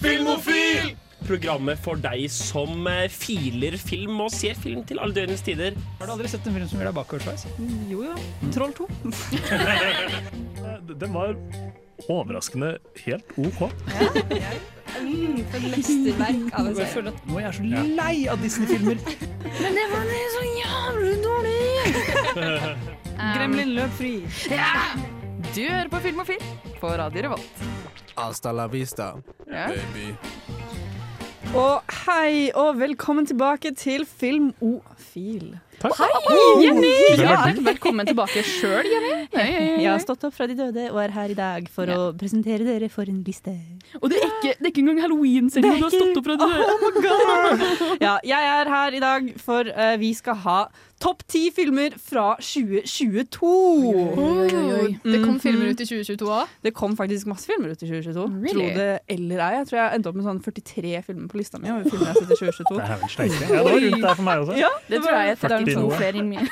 Filmofil! Programmet for deg som eh, filer film og ser film til alle døgnets tider. Har du aldri sett en film som gjør deg bakoversveis? Jo jo. Troll 2. Den var overraskende helt OK. Mm, for et mesterverk av en Jeg serie. føler at nå er jeg så lei av Disney-filmer. Men det var så jævlig dårlig! Gremlin løp fri. Du hører på Filmofil på Radio Revolt. Hasta la vista, Ja. baby. Og hei, og velkommen tilbake til Filmofil. Jenny! velkommen tilbake sjøl, Jenny. Jeg har stått opp fra de døde og er her i dag for Mhm. Ja. å presentere dere for en liste. Og det er ikke, det er ikke engang halloween-sendinga du har stått opp fra. Du. Ja, jeg er her i dag for eh, vi skal ha topp ti filmer fra 2022. Mhm. Det kom filmer ut i 2022 òg. Det kom faktisk masse filmer ut i 2022. Really? Tro det eller ei. Jeg tror jeg endte opp med sånn 43 filmer på lista mi. over filmer jeg har sett i 2022. Det er vel steike. Ja, det var rundt der for meg også. Ja, Det tror jeg er Førti 42 noe. flere enn min.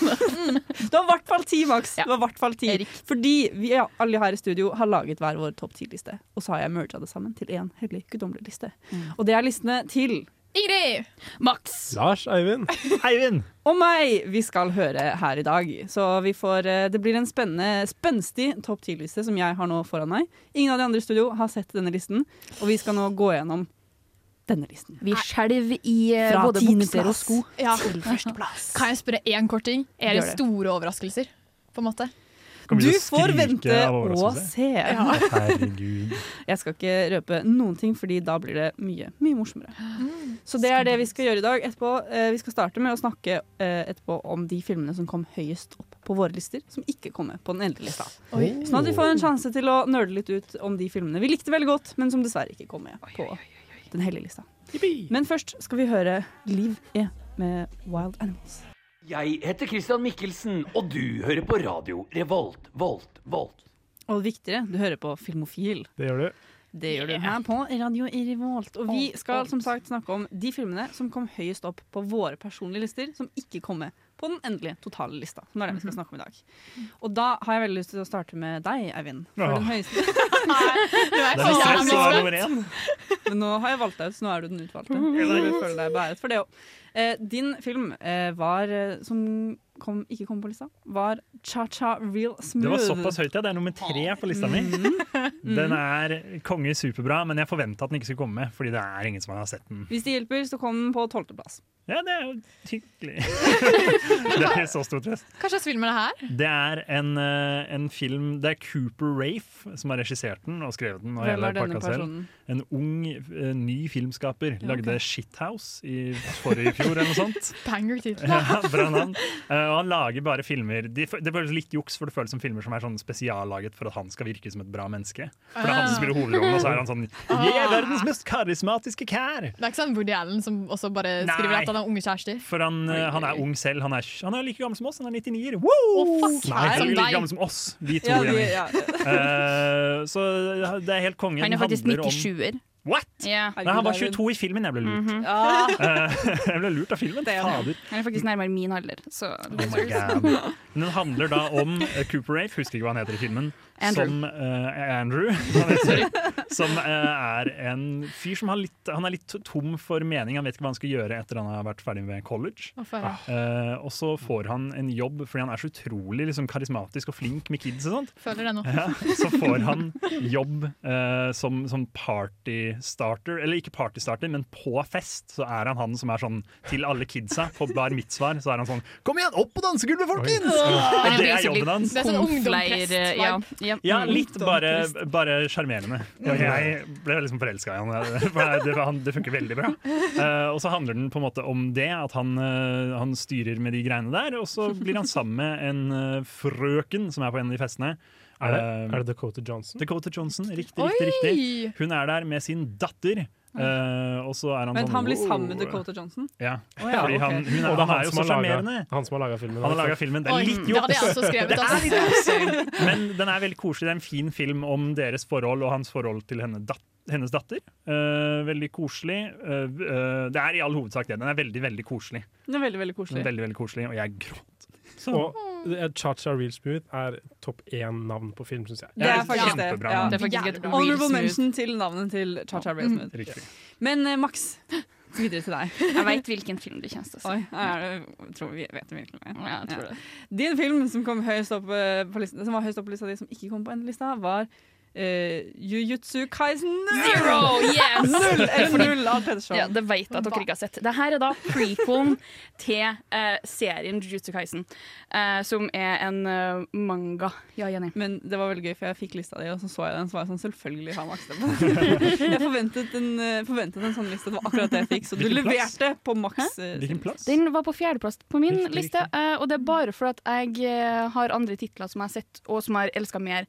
Det var i hvert fall ti, Max. Ja. Det var i hvert fall ti. Erik. Fordi vi ja, alle her i studio har laget hver vår topp ti-liste. Og så har jeg merga det sammen til én hellig guddommelig liste. Mm. Og det er listene til Ingrid! Max! Lars Eivind. Eivind! og meg vi skal høre her i dag. Så vi får, eh, det blir en spennende, spenstig topp ti-liste som jeg har nå foran meg. Ingen av de andre i studio har sett denne listen, og vi skal nå gå gjennom denne listen. Vi skjelv i eh, Fra både tiende bukser og plass. sko Ja. til førsteplass. Kan jeg spørre én kort ting? Gjør Er det det. store overraskelser? På en måte. Kommer Du til å får skrike vente av og overraskelse. se. Herregud. Jeg skal ikke røpe noen ting, fordi da blir det mye, mye morsommere. Så det er det vi skal gjøre i dag. Etterpå, eh, vi skal starte med å snakke eh, etterpå om de filmene som kom høyest opp på våre lister, som ikke kom med på den eldre lista. Sånn at vi får en sjanse til å nerde litt ut om de filmene vi likte veldig godt, men som dessverre ikke kom med på den hellige lista. Men først skal vi høre Liv E med Wild Animals. Jeg heter Christian Mikkelsen, og du hører på radio Revolt, Volt, Volt. Og viktigere, du hører på Filmofil. Det gjør du. Det gjør du her på Radio Revolt. Og vi skal som sagt snakke om de filmene som kom høyest opp på våre personlige lister, som ikke kom med på den endelige totale lista. Som er det vi skal snakke om i dag. Og da har jeg veldig lyst til å starte med deg, Eivind. For Åh. den høyeste. Du er Det er litt så stress å være jævlig nummer én. Men nå har jeg valgt deg ut, så nå er du den utvalgte. Så du føler deg beæret for det også. Eh, din film eh, var, eh, som kom, ikke kom på lista, var Cha-Cha Real Smooth. Det var såpass høyt, ja. Det er nummer tre på lista mi. Mm. Den er konge superbra, men jeg forventa at den ikke skulle komme med, fordi det er ingen som har sett den. Hvis det hjelper, så kom den på tolvteplass. Ja, det er jo hyggelig. Det er så stor trøst. Hva slags film er det her? Det er en, eh, en film Det er Cooper Rafe som har regissert den og skrevet den. Og Hvem hele er denne pakka selv. personen? En ung, eh, ny filmskaper. Lagde Shithouse i forrige fjor eller noe sånt. Banger tittel. Ja, bra navn. Eh, og han lager bare filmer de, fø- Det føles litt juks, for det føles som filmer som er sånn spesiallaget for at han skal virke som et bra menneske. For det er han som spiller hovedrollen, og så er han sånn Jeg er verdens mest karismatiske kær! Det er ikke sånn Woody Allen som også bare Nei. skriver at han har unge kjærester? For han, eh, han er ung selv. Han er, han er like gammel som oss. Han er 99-er. Woo! fuck. Nei, han er Som deg. like gammel som oss. Vi to. Ja, de, Jenny. ja. Eh, så det er helt kongen. Han er faktisk handler om- 97-er. What?! Ja. Nei, han var 22 i filmen. Jeg ble lurt. Ja. Eh, jeg ble lurt av filmen. Mhm. Det er han. Fader. Han er faktisk nærmere min alder. Så Oh my God. Men Den handler da om eh, Cooper Rafe, husker ikke hva han heter i filmen. Andrew. Som eh, Andrew. Han heter, som eh, er en fyr som har litt, han er litt tom for mening. Han vet ikke hva han skal gjøre etter han har vært ferdig med college. Å, faen. Eh, og så får han en jobb fordi han er så utrolig liksom, karismatisk og flink med kids. og sånt Føler det nå. ja, Så får han jobb eh, som, som partystarter, eller ikke partystarter, men på fest. Så er han han som er sånn til alle kidsa på bar mitzvah. Så er han sånn Kom igjen, opp på dansegulvet, folkens! Og Han er det er basically jobben hans. Det er sånn konfleir, ungdomsprest-vibe. ja. Ja. Ja, Mm. litt bare bare sjarmerende. Mm. Og jeg ble liksom forelska i han. for Det, han- det funker veldig bra. Eh, og så handler den på en måte om det, at han, eh, han styrer med de greiene der. Og så blir han sammen med en eh, frøken som er på en av de festene. Er det, Eh, er det Dakota Johnson? Dakota Johnson. Riktig, Oi! riktig, riktig. Hun er der med sin datter. eh, og så er han Men sånn han blir sammen med «Wow». Dakota Johnson? Ja. ja, Fordi han, ok. hun er, Og det han er jo som så har laget- sjarmerende. Han som har laga filmen. altså. Han har laga filmen. Det Oi, er litt det hadde jeg juks. også skrevet. Altså. Men den er veldig koselig. Det er en fin film om deres forhold og hans forhold til henne dat hennes datter. Eh, veldig koselig. Eh, eh, det er i all hovedsak det. Den er veldig, veldig koselig. Det er veldig, veldig koselig. Veldig, veldig koselig Og jeg gråt Så, Og eh, Cha-Cha Real Smooth er topp én-navn på film, syns jeg. Det Ja, er faktisk Mm. det. kjempebra. Ja. Det Det er faktisk et Jævlig bra. real Honorable smooth. mention til navnet til Cha-Cha Raysmith. Riktig. Men eh, Max, videre til deg. Jeg veit hvilken film du kjenner til. å si. Oi, er det, tror vi vet det virkelig. Ja, jeg tror det. Din film som, kom høyest opp, eh, på listen, som var høyest opp på lista di, som ikke kom på endelista, var eh, Jujutsu Kaisen Zero! Yes! Null eller null av Petter Shaw. Ja, det vet jeg at dere ikke har sett. Det her er da prequelen til eh, serien Jujutsu Kaisen, eh, som er en eh, manga. Ja, Jenny. Men det var veldig gøy, for jeg fikk lista di, og så så jeg den. Så var jeg sånn, selvfølgelig har Max det på Jeg forventet en, eh, forventet en sånn liste, det var akkurat det jeg fikk. Så du Hvilken plass? leverte på Max. eh, Hvilken plass? Den var på fjerdeplass på min Riktig, liste, eh, og det er bare fordi at jeg eh, har andre titler som jeg har sett, og som jeg har elska mer.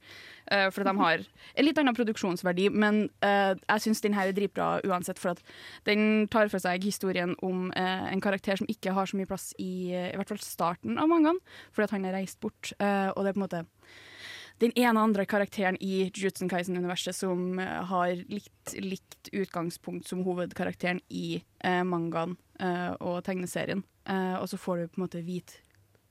eh, fordi de har en litt annen produksjonsverdi, men eh, jeg syns den her er dritbra uansett, for at den tar for seg historien om eh, en karakter som ikke har så mye plass i eh, i hvert fall starten av mangaen, fordi at han er reist bort, eh, og det er på en måte den ene andre karakteren i Jujutsu Kaisen-universet som eh, har litt likt utgangspunkt som hovedkarakteren i eh, mangaen eh, og tegneserien. Eh, og så får du på en måte vite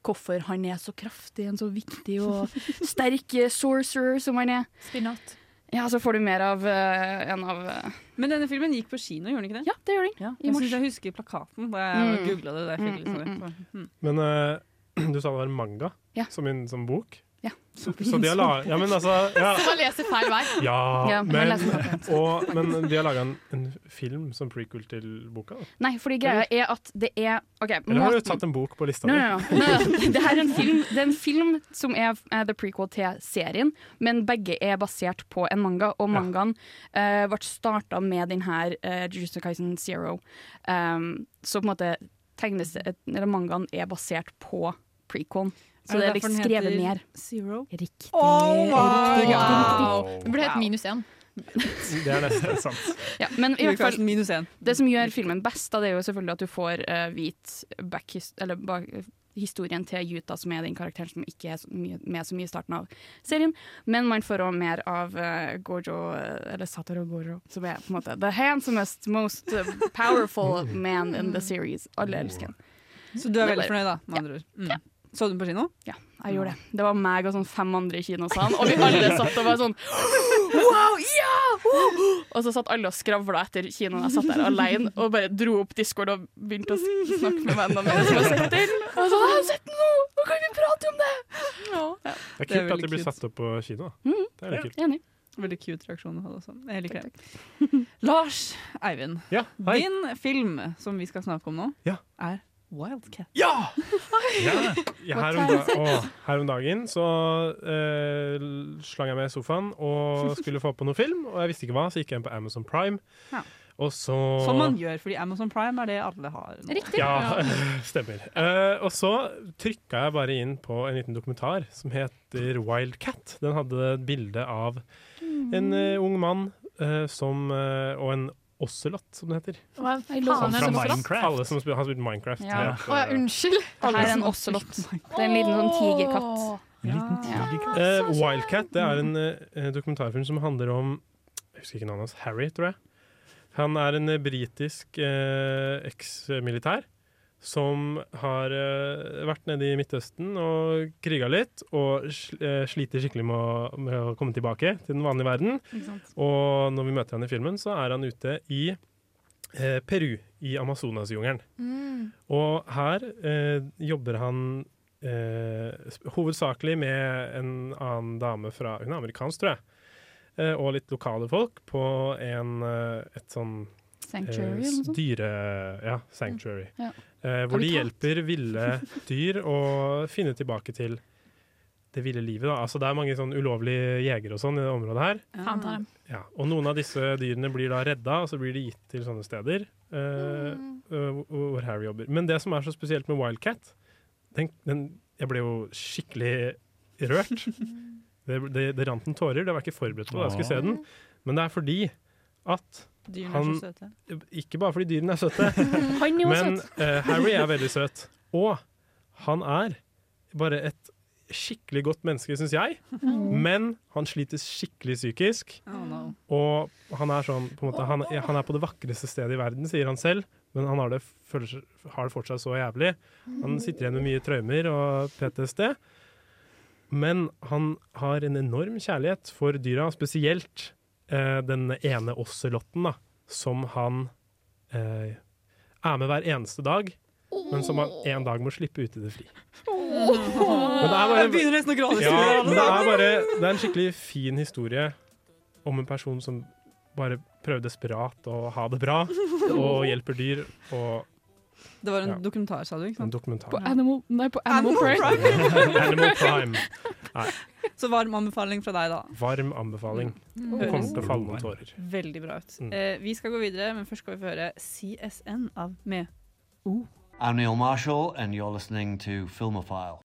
hvorfor han er så kraftig, en så viktig og sterk eh, sorcerer som han er. Spinat. Ja, så får du mer av eh, en av eh, Men denne filmen gikk på kino, gjorde den ikke det? Ja, det gjør den. i jeg mars. synes jeg husker plakaten da jeg Mm. googla det. Da jeg fikk Mm, litt mm, sånn rett på. Mm. Men eh, du sa det var en manga Ja. som en som bok? Ja. Så, så de har la... Ja, men altså Ja, Bare lese feil vei. ja Ja, jeg men, leser den. og, men de har laga en, en film som prequel til boka? Da. Nei, fordi greia er at det er OK. Eller har du måten- tatt en bok på lista No, di? no, no. Det, her er en film, det er en film som er eh, the prequel til serien, men begge er basert på en manga. Og mangaen eh, ble starta med den her eh, Jujutsu Kaisen Zero. Um, så på en måte tegnes, eller mangaen er basert på prequelen. Så Er det er derfor liksom den skrevet heter ned. Zero. Riktig. Oh my Wow. Det burde Wow. hett minus én. Det er neste. Det er sant. Ja, men i hvert fall minus én. Det som gjør filmen best, da, det er jo selvfølgelig at du får uh, hvit back his eller bak historien til Yuta, som er den karakteren som ikke er så mye, med så mye i starten av serien. Men man får òg mer av eh, Gojo, eh, eller Satoru Gojo, som er på en måte the handsomest, most eh, powerful man in the series. Alle elsker han. Så du er veldig fornøyd, da? Med andre ord. Mm. Så du den på kino? Ja, jeg gjorde det. Det var meg og sånn fem andre i kinosalen, og vi alle satt og var sånn Wow, ja! Woo! Og så satt alle og skravla etter kinoen. Jeg satt der alene og bare dro opp Discord og begynte å s- snakke med vennene mine som har sett den. Og jeg sa, jeg har sett den nå! Nå kan vi prate om det! Det er Det er kult at veldig det blir kult. satt opp på kino. Mm. da. Det er veldig kult. Enig. Veldig cute reaksjon du hadde også. Jeg liker det. Lars Eivind, Ja, hei. din film som vi skal snakke om nå, Ja. er Wildcat. Ja! Ja. Ja, her, om da å, her om dagen så eh, l- slang jeg meg i sofaen og skulle få på noe film, og jeg visste ikke hva, så gikk jeg inn på Amazon Prime. Ja. Og så Som man gjør, fordi Amazon Prime er det alle har. nå. Riktig. Ja, stemmer. Eh, og så trykka jeg bare inn på en liten dokumentar som heter Wildcat. Den hadde et bilde av en eh, ung mann eh, som, eh, og en Ocelot, som det heter. Hva Sånn faen er fra det for slapp? Minecraft. Alle som spil, har spilt Minecraft. Ja. vet, Å ja, eh, unnskyld. Her er en ocelot. Det er en liten sånn tigerkatt. En liten Ja. tigerkatt. Eh, Wildcat det er en eh, dokumentarfilm som handler om Jeg husker ikke navnet hans. Harry, tror jeg. Han er en eh, britisk eh, eksmilitær som har eh, vært nede i Midtøsten og kriga litt, og sl eh, sliter skikkelig med å, med å komme tilbake til den vanlige verden. Og når vi møter han i filmen, så er han ute i eh, Peru, i Amazonasjungelen. Mm. Og her eh, jobber han eh, sp- hovedsakelig med en annen dame fra Hun er amerikansk, tror jeg. Eh, og litt lokale folk på en, eh, et sånn Sanctuary eh, eller noe sånt. dyre... Ja, sanctuary. Ja. Eh, hvor de Habitat. hjelper ville dyr å finne tilbake til det ville livet. Da. Altså, det er mange sånn ulovlige jegere og sånn i det området her. Faen ta dem. Ja, og noen av disse dyrene blir da redda, og så blir de gitt til sånne steder eh, eh, hvor- hvor Harry jobber. Men det som er så spesielt med Wildcat den, den, Jeg ble jo skikkelig rørt. Det, det, det rant en tårer. Det var jeg ikke forberedt på da jeg skulle se den. Men det er fordi at Dyrene er Han- så søte. Ikke bare fordi dyrene er søte, Han er jo men søt. eh, Harry er veldig søt. Og han er bare et skikkelig godt menneske, syns jeg. Men han slites skikkelig psykisk. Oh, no. Og han er sånn på en måte, han, han er på det vakreste stedet i verden, sier han selv, men han har det, føler, seg- har det fortsatt så jævlig. Han sitter igjen med mye traumer og PTSD. Men han har en enorm kjærlighet for dyra, spesielt eh, den ene ocelotten, da, som han eh, er med hver eneste dag, men som han en dag må slippe ut i det fri. Men det er bare begynner nesten å gråte. ja, men det er bare Det er en skikkelig fin historie om en person som bare prøver desperat å ha det bra, og hjelper dyr, og Det var en Ja. dokumentar, sa du. ikke en sant? dokumentar. På Animal, nei, på Animal, Pride. Animal Prime. Så varm anbefaling fra deg, da. Varm anbefaling. Det kommer Høres til å falle noen tårer. veldig bra ut. Mm. Eh, vi skal gå videre, men først skal vi få høre CSN av med O. I'm Neil Marshall, and you're listening to Filmophile.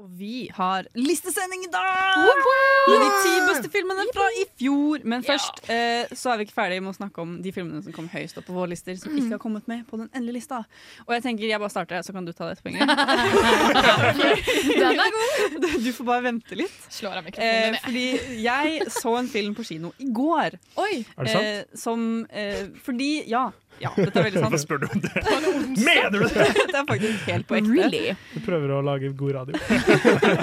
Og vi har listesending i dag! Med de ti beste filmene fra i fjor. Men først eh, så er vi ikke ferdige med å snakke om de filmene som kom høyest opp på vår lister, som ikke har kommet med på den endelige lista. Og jeg tenker jeg bare starter, så kan du ta det etterpå, Ingrid. Den er god. Du får bare vente litt. Slår av mikrofonen Eh, din. fordi jeg så en film på kino i går. Oi! Er det sant? Eh, som eh, Fordi Ja. Ja, dette er veldig sant. spør du om det? Mener du det?! Dette er faktisk helt på ekte. Du prøver å lage god radio.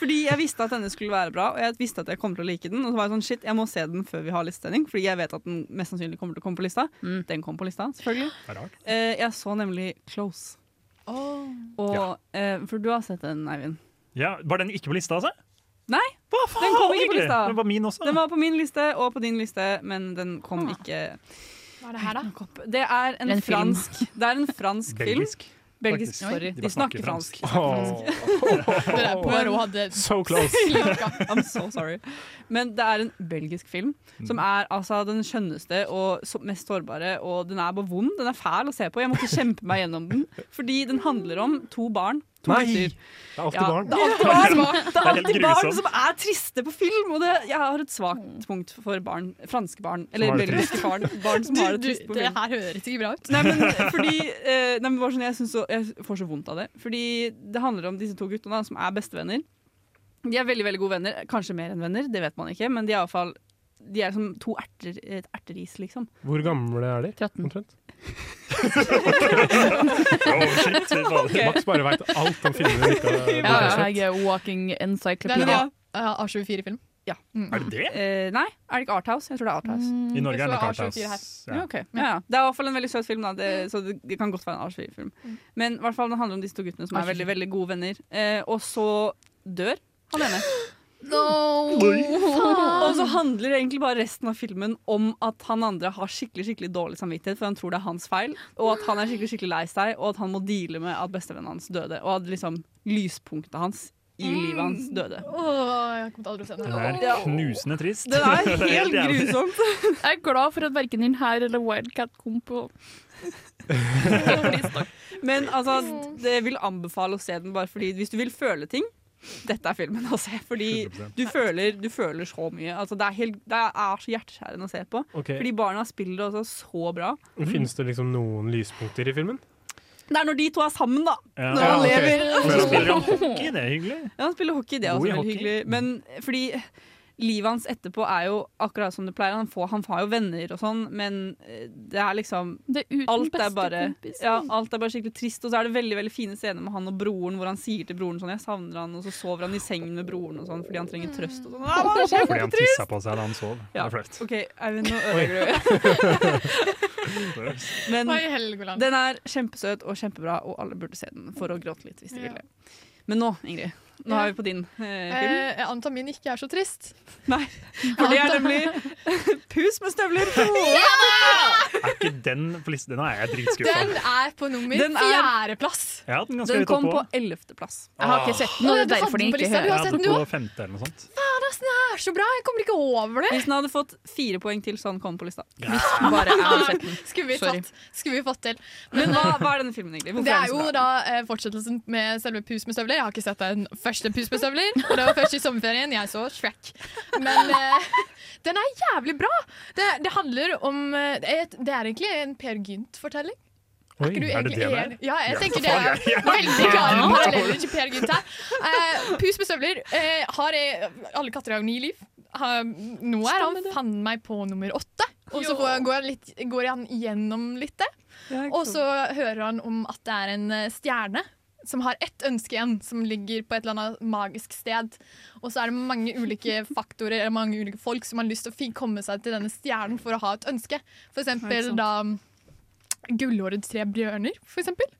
Fordi jeg visste at denne skulle være bra, og jeg visste at jeg kom til å like den. Og så var jeg sånn, shit, jeg må se den før vi har listesending, fordi jeg vet at den mest sannsynlig kommer til å komme på lista. Den kom på lista, selvfølgelig. Det er rart. Eh, jeg så nemlig Close. Og, eh, for du har sett den, Eivind. Ja, var den ikke på lista, altså? Nei, Hva faen? den kom ikke på egentlig? lista. Den var min også. Den var på min liste og på din liste, men den kom ikke Hva er det her, da? nok opp. Det er en, En film. fransk, det er en fransk film. Belgisk. Belgisk, faktisk. sorry. De De, bare snakker snakker fransk. Åh, Det der Poirot hadde so close. I'm so sorry. Men det er en belgisk film Mm. som er altså den skjønneste og så- mest sårbare. Og den er bare vond. Den er fæl å se på. Jeg måtte kjempe meg gjennom den. Fordi den handler om to barn. To Nei! Det gutter. er alltid Ja, barn. det er alltid barn, det er helt alltid barn grusomt. som er triste på film! Og det, jeg har et svakt punkt for barn. Franske barn. Eller har det trist. belgiske barn. Barn som Du, har det du, trist på det film. her høres ikke bra ut. Nei, men fordi eh, nei, men bare sånn, jeg, synes så, jeg får så vondt av det. Fordi det handler om disse to guttene da, som er bestevenner. De er veldig veldig gode venner. Kanskje mer enn venner, det vet man ikke. Men de er, i alle fall, de er som to erter, et erteris, liksom. Hvor gamle er de? Mm. 13. Omtrent? Oh, shit. fy faen. Max bare veit alt om filmene. vi ikke har- vi ikke Ja, har sett. Jeg er walking Det er encyclopedia. en A- A24-film. Er det det? Eh, nei, er det ikke Arthouse? Jeg tror det er Arthouse. I Norge er det nok Jeg så A24 her. Arthouse. Mm, Ja. ok. Ja, ja. Det er i hvert fall en veldig søt film, da. Det, så det, det kan godt være en Arsvig-film. Men i hvert fall den handler om disse to guttene som er veldig veldig gode venner. Eh, og så dør han ene. Og så handler egentlig bare resten av filmen om at han andre har skikkelig skikkelig dårlig samvittighet, for han tror det er hans feil, og at han er skikkelig skikkelig lei seg, og at han må deale med at bestevennen hans døde, og at liksom lyspunktet hans i livet hans døde. Åh, jeg kommer til aldri å se den. Den er knusende trist. Det er Det er helt helt jævlig. grusomt. Jeg er glad for at verken den her eller Wildcat kom på. Men altså, det vil anbefale å se den bare fordi hvis du vil føle ting dette er filmen å se, fordi 100%. du føler, du føler så mye. Altså, det, er helt, det er så hjerteskjærende å se på. Ok, Fordi barna spiller det også så bra. Finnes det liksom noen lyspunkter i filmen? Det er når de to er sammen, da. Ja. Når han ok. lever. Men han spiller jo hockey, det er hyggelig. Ja, han spiller hockey, det er God i også veldig hockey. Mm. hyggelig. Men fordi livet hans etterpå er jo akkurat som det pleier. Han, får, han har jo venner og sånn, men eh, det er liksom Det er uten Alt er, bare, bestekompis. ja, liksom. alt er bare skikkelig trist, og så er det veldig veldig fine scener med han og broren hvor han sier til broren sånn 'jeg savner han', og så sover han i sengen med broren og sånn fordi han trenger trøst og sånn. Ah, det er Fordi han kjempetrist! tissa på seg da han sov. Det Ja. er flaut. OK, Eivind, nå ødelegger du. Men Oi, Helgoland. den er kjempesøt og kjempebra, og alle burde se den for å gråte litt hvis de Ja. ville. Men nå, Ingrid, nå er vi på din eh, Eh, film. jeg antar min ikke er så trist. For det er nemlig Pus med støvler på hodet! Er ikke den på listen? Den er jeg Den dritskuffa. er på nummer Den er- fjerdeplass. Jeg har hatt den ganske Den høyt kom oppå. på ellevteplass. Jeg har ikke sett den, og Åh, det er du hadde derfor den den på ikke lista, hører. du Jeg har hadde sett den, den du på òg. femte eller noe sånt. Den er så bra! Jeg kommer ikke over det. Hvis den hadde fått fire poeng til, så hadde den kommet på lista. Hvis bare jeg hadde sett den. Skulle vi, Sorry. tatt, skulle vi fått til. Men hva, hva er denne filmen egentlig? Hvorfor Det er jo den så bra? da eh, fortsettelsen med selve Pus med støvler. Jeg har ikke sett den første Pus med støvler. og Det var først i sommerferien jeg så Shrek. Men eh, den er jævlig bra! Det, det handler om eh, det, er, det er egentlig en Per Gynt-fortelling. Oi, Ikke du er det egentlig det det er? enig? Ja, jeg Ja, tenker det faen, er jeg- veldig klare paralleller til Per Gynt her. Eh, Pus med støvler eh, har eh, Alle katter har jo ni liv. Ha, nå er han faen meg på nummer åtte. Og så går han- går han, litt, går han gjennom litt det. Og så hører han om at det er en eh, stjerne som har ett ønske igjen, som ligger på et eller annet magisk sted. Og så er det mange ulike faktorer eller mange ulike folk som har lyst til å fi- komme seg til denne stjernen for å ha et ønske. For Ja, ikke eksempel sant. da mm, Gullhårets tre bjørner, for eksempel.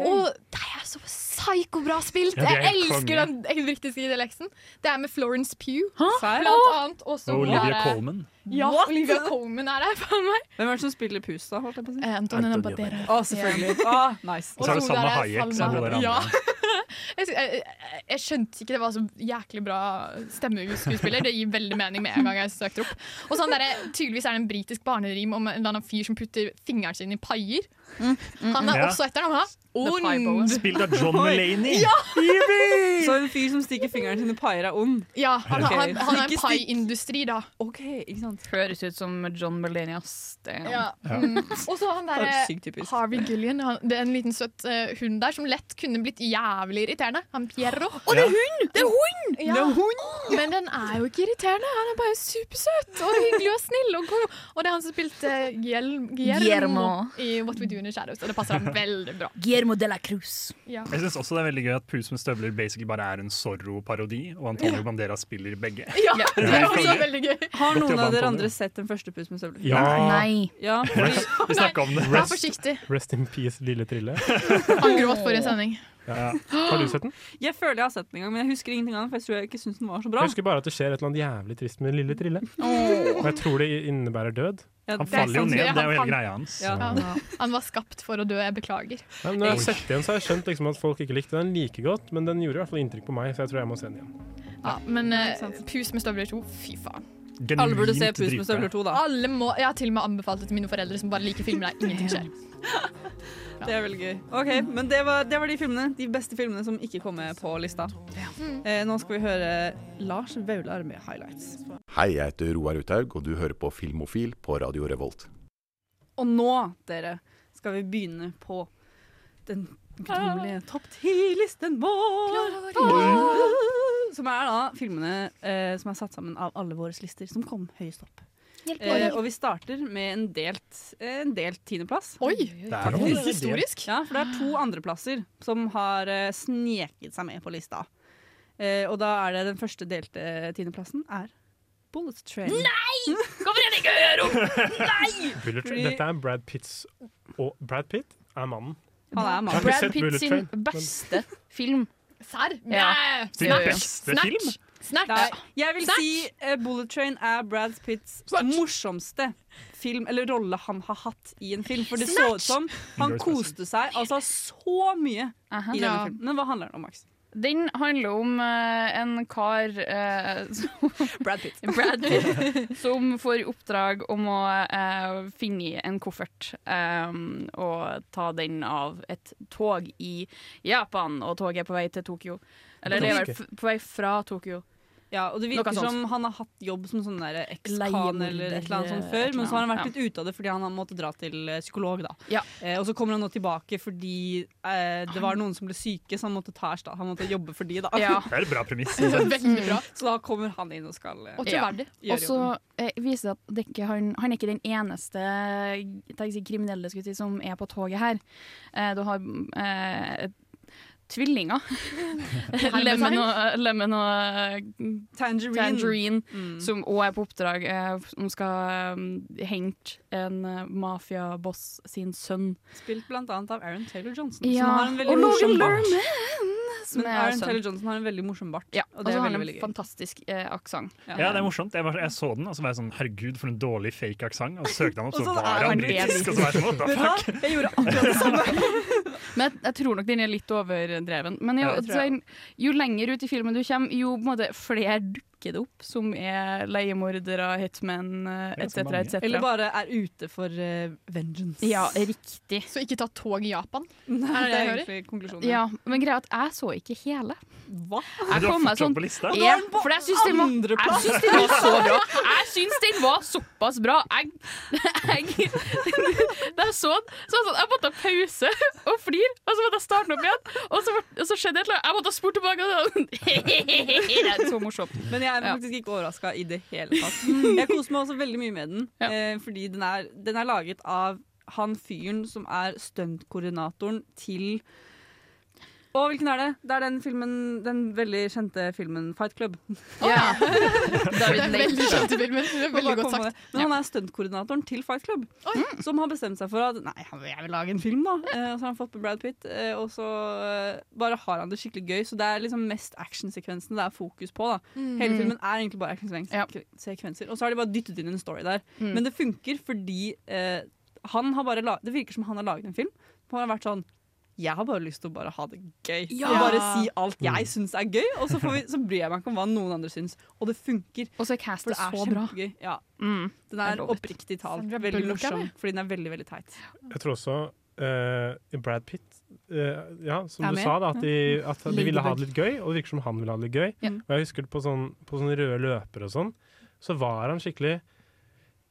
Og det er så psykobra spilt! Mm. Ja, det er jeg helt elsker den konge. den britiske dialekten. Det er med Florence Pugh, Serr? blant annet. Og så Og er Olivia det- Colman. Ja, Olivia Colman er der, faen meg. Hvem er det som spiller pus, da? Holdt jeg på å si. Antonina Banderas. Å, selvfølgelig. Ah, nice. Og så er det Solveig Salma er Hayek. Salma. Som er Ja. ja. Jeg, sy- jeg, jeg- jeg skjønte ikke det var så jæklig bra stemmeskuespiller. Det gir veldig mening med en gang jeg søkte opp. Og sånn derre- Tydeligvis er det en britisk barnerim om en eller annen fyr som putter fingeren sin i paier. Han er Ja. også etter ham. Mm, The Pie Bowl. Ond! Spilt av John Mulaney. Så en fyr som stikker fingeren sin i paier, er ond? Ja, han, Ok. han, han er en Ikke stikk. paiindustri, da. OK, ikke sant. Høres ut som John Mulaney, ass. Det er- Mm. Og så han Bare derre Sykt typisk. Harvey Gillian, han, det er en liten søt eh, hund der som lett kunne blitt jævlig irriterende. Han Pierro. det er hund! Det er hund! Ja. Men den er jo ikke irriterende. Han er bare supersøt og hyggelig og snill. Og, god. og det er han som spilte Guillermo, Guillermo Guillermo. i What We Do in the Shadows, og det passer ham veldig bra. Guillermo de la Cruz. Ja. Jeg synes også det er veldig gøy at Pus med støvler basically bare er en Zorro-parodi, og Antonio Banderas spiller begge. Ja, Ja, det er også konge. veldig gøy. Har Godt noen jobba, av dere Antonio. andre sett Den første pus med støvler? Ja. Nei. Ja, fordi Vi snakket om det. Vær forsiktig. Rest in peace, lille Trille. Han gråt forrige sending. Ja. Har du sett den? jeg føler jeg har sett den en gang, men jeg husker ingenting av den. For jeg tror jeg ikke syns den var så bra. Jeg husker bare at det skjer et eller annet jævlig trist med lille Trille. Og jeg tror det innebærer død. Ja, Han det er faller jo sant. ned, det sant, er jo hele han- greia hans. Ja. Ja. Han var skapt for å dø, jeg beklager. Nei, men når jeg har sett den, så har jeg skjønt liksom at folk ikke likte den like godt, men den gjorde i hvert fall inntrykk på meg, så jeg tror jeg må se den igjen. Ja, men eh, Ikke sant. Pus med støvler 2, fy faen. Genuint Alle burde se Pus dritbra. med støvler 2, da. Alle må, Jeg har til og med anbefalt det til mine foreldre, som bare liker filmer der ingenting skjer. Det er veldig gøy. Ok, men det var, det var de filmene, de beste filmene som ikke kom med på lista. Eh, nå skal vi høre Lars Vaular med highlights. Hei, jeg heter Roar Uthaug, og du hører på Filmofil på Radio Revolt. Og nå, dere, skal vi begynne på den gnommelige topp ti-listen vår! Som er da filmene eh, som er satt sammen av alle våre lister, som kom høyest opp. Eh, og vi starter med en delt, eh, en delt tiendeplass. Oi! Det er jo- Litt historisk. Ja, for det er to andreplasser som har eh, sneket seg med på lista. Eh, og da er det den første delte eh, tiendeplassen er Bullet Train. Bullet Train. Fordi- Dette er Brad Pitts Og Brad Pitt er mannen. Han er Jeg har mann. ikke Brad sett Pitt Bullet sin Train. beste film. Serr? Ja. Nei! Sin Jo, jo. beste Snatch. film? Snert. Det er, jeg vil Snatch! si eh, Bullet Train er Brad Pitts morsomste film, eller rolle han har hatt i en film. For det så ut som han koste seg altså så mye Aha. i denne Ja. filmen. Men hva handler den om, Max? Den handler om eh, en kar eh, Brad Pitt. Brad Pitt, som får i oppdrag om å eh, finne en koffert em, og ta den av et tog i Japan, og toget er på vei til Tokyo. Eller det er vel f- på vei fra Tokyo. Ja, og det Noe virker sånt. som han har hatt jobb som sånn der eks-kan Leiemorder, eller et eller annet sånt eh, et før, eller men så har han vært annet, litt ute av det fordi han har måttet dra til eh, psykolog, da. Ja. Eh, og så kommer han nå tilbake fordi eh, det var noen som ble syke, så han måtte ta ersta- Han måtte jobbe for de, da. Ja. Det er et bra premiss. Det er Veldig bra. Så da kommer han inn og skal eh, Og Ja. troverdig. gjøre Og så jobben. eh, viser det at det ikke, han, han er ikke den eneste jeg tenker å si, kriminelle skulle jeg si, som er på toget her. Eh, du har eh, tvillinger. Lemon og, lemon og eh, Tangerine. Tangerine, Mm. som òg er på oppdrag. eh, Hun skal eh, hente en eh, mafiaboss sin sønn. Spilt blant annet av Aaron Taylor Johnson, Ja, som har en veldig og Logan morsom bart. Som Men er Aaron sønn. Taylor Johnson har en veldig morsom bart, Ja, og det er har veldig, han veldig en gøy. fantastisk eh, aksent. Ja, det er morsomt. Jeg, var, jeg så den, og så var jeg sånn herregud, for en dårlig fake aksent. Og så søkte han opp, Og så så var han er han britisk. britisk. Og så var jeg sånn, what the Vet du hva? fuck? Jeg gjorde akkurat det samme. Men jeg, jeg tror nok den er litt overdreven. Men jo, Ja, det tror jeg. sånn, jo lenger ut i filmen du kommer, jo på en måte, flere dukker det opp som er leiemordere, hitmen Det er ganske etc. mange. Eller etc. bare er ute for eh, vengeance. Ja, riktig. Så ikke ta tog i Japan. Nei, Er det det er jeg hører? egentlig konklusjonen. Ja, men greia er at jeg så ikke hele. Hva? Men Jeg du har kom meg fortsatt sånn på lista. nå er Jeg, den på for jeg syns den, var- jeg andreplass. syns den var så bra. Jeg syns den var såpass bra. Jeg, jeg, da jeg så den, så var det sånn, jeg måtte ha pause og flire, og så måtte jeg starte den opp igjen. Og så, ble- og så skjedde et eller annet. Jeg måtte ha spurt tilbake. Og så, sånn. det er så morsomt. Men jeg Jeg er Ja. faktisk ikke overraska i det hele tatt. Jeg koser meg også veldig mye med den, eh, fordi den er, den er laget av han fyren som er stuntkoordinatoren til Å, hvilken er det? Det er den filmen, den veldig kjente filmen Fight Club. Ja. David Det er Late. veldig kjente filmer. Det er veldig Bare godt komme sagt. med det. Men han er stuntkoordinatoren til Fight Club, Mm. som har bestemt seg for at Nei, han- jeg vil lage en film, da. Eh, og så har han fått med Brad Pitt, eh, og så eh, bare har han det skikkelig gøy. Så det er liksom mest actionsekvensene det er fokus på. da Mm. Hele filmen er egentlig bare actionsekvenser, og så har de bare dyttet inn en story der. Mm. Men det funker fordi eh, han har bare la det virker som han har laget en film. Han har vært sånn jeg har bare lyst til å bare ha det gøy. Ja. Og Bare si alt jeg syns er gøy, og så, får vi, så bryr jeg meg ikke om hva noen andre syns. Og det funker. Og så er castet For det er så bra. kjempegøy. Ja. Mm. Den Jeg er lover. oppriktig talt Sandra veldig Bullock, morsom, eller? fordi den er veldig veldig teit. Jeg tror også eh, Brad Pitt eh, Ja, som Er du med. sa, da, at de, at de ville ha det Ladybug. litt gøy, og det virker som han ville ha det litt gøy. Ja. Og jeg husker på sånn, på sånne røde løpere og sånn, så var han skikkelig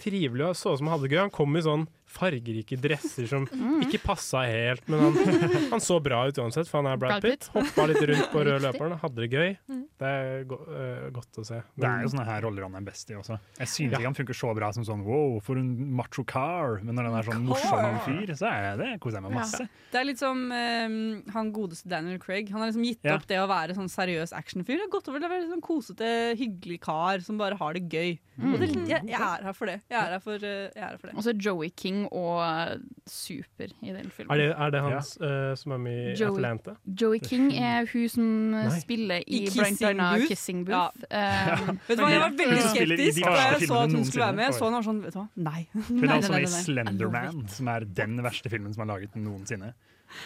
trivelig og så ut som han hadde det gøy. Han kom i sånn fargerike dresser som ikke passa helt, men han, han så bra ut uansett, for han er Brad, Brad Pitt. Pitt. Hoppa litt rundt på røde Riktig. løperen, hadde det gøy. Mm. Det er go eh, godt å se. Det er jo sånn- sånne her roller han er best i også. Jeg synes Ja. ikke han funker så bra som sånn wow, for en macho car, men når han er sånn morsom fyr, så er det koser jeg meg masse. Det er litt som eh, han godeste Daniel Craig. Han har liksom gitt Ja. opp det å være sånn seriøs actionfyr. Det har gått over til å være sånn kosete, hyggelig kar som bare har det gøy. Og det, jeg, jeg er her for det. Jeg er her for, eh, jeg er her for det. Og så Joey King og eh, Super i den filmen. Er det, er det han eh, som er med i Joey. Atlanta? Joey King er hun som eh, Nei. spiller i, I blant Kissing annet Booth? Kissing Booth. Eh, Vet du hva, Jeg var veldig Hun spiller i de skeptisk da verste jeg så at filmene hun skulle være med. noensinne. Jeg så han var sånn, vet du hva, nei. Hun er Nei, også med i nei, nei, nei. Slenderman, som er den verste filmen som er laget noensinne.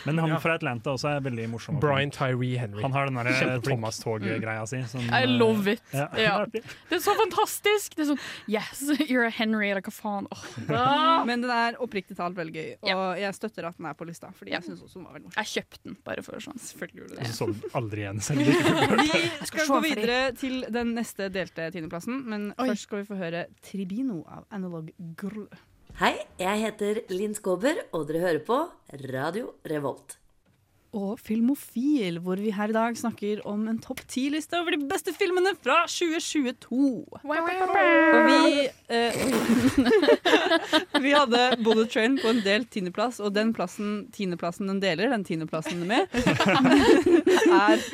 Men han Ja. fra Atlanta også er veldig morsom. Brian Tyree Henry. Han har den der eh, Kjempeflink. Thomas Tog-greia si. Som, eh, I love it! Ja. Ja. Det er så fantastisk! Det er sånn Yes, you're a Henry, eller hva faen. Åh. Ah! Men den er oppriktig talt veldig gøy, og jeg støtter at den er på lista. Fordi Ja. jeg synes også den var veldig morsom. Jeg kjøpte den bare for sånn. Selvfølgelig gjorde du det. Og så så du aldri igjen selv. ikke? Vi skal se gå den ferdig. videre til den neste delte tiendeplassen, men Oi. først skal vi få høre 'Tribino' av Analog Grl. Hei, jeg heter Linn Skåber, og dere hører på Radio Revolt. Og Filmofil, hvor vi her i dag snakker om en topp ti-liste over de beste filmene fra 2022. Og vi eh, Vi hadde Bullet Train på en delt tiendeplass, og den plassen tiendeplassen den deler, den tiendeplassen den er med, er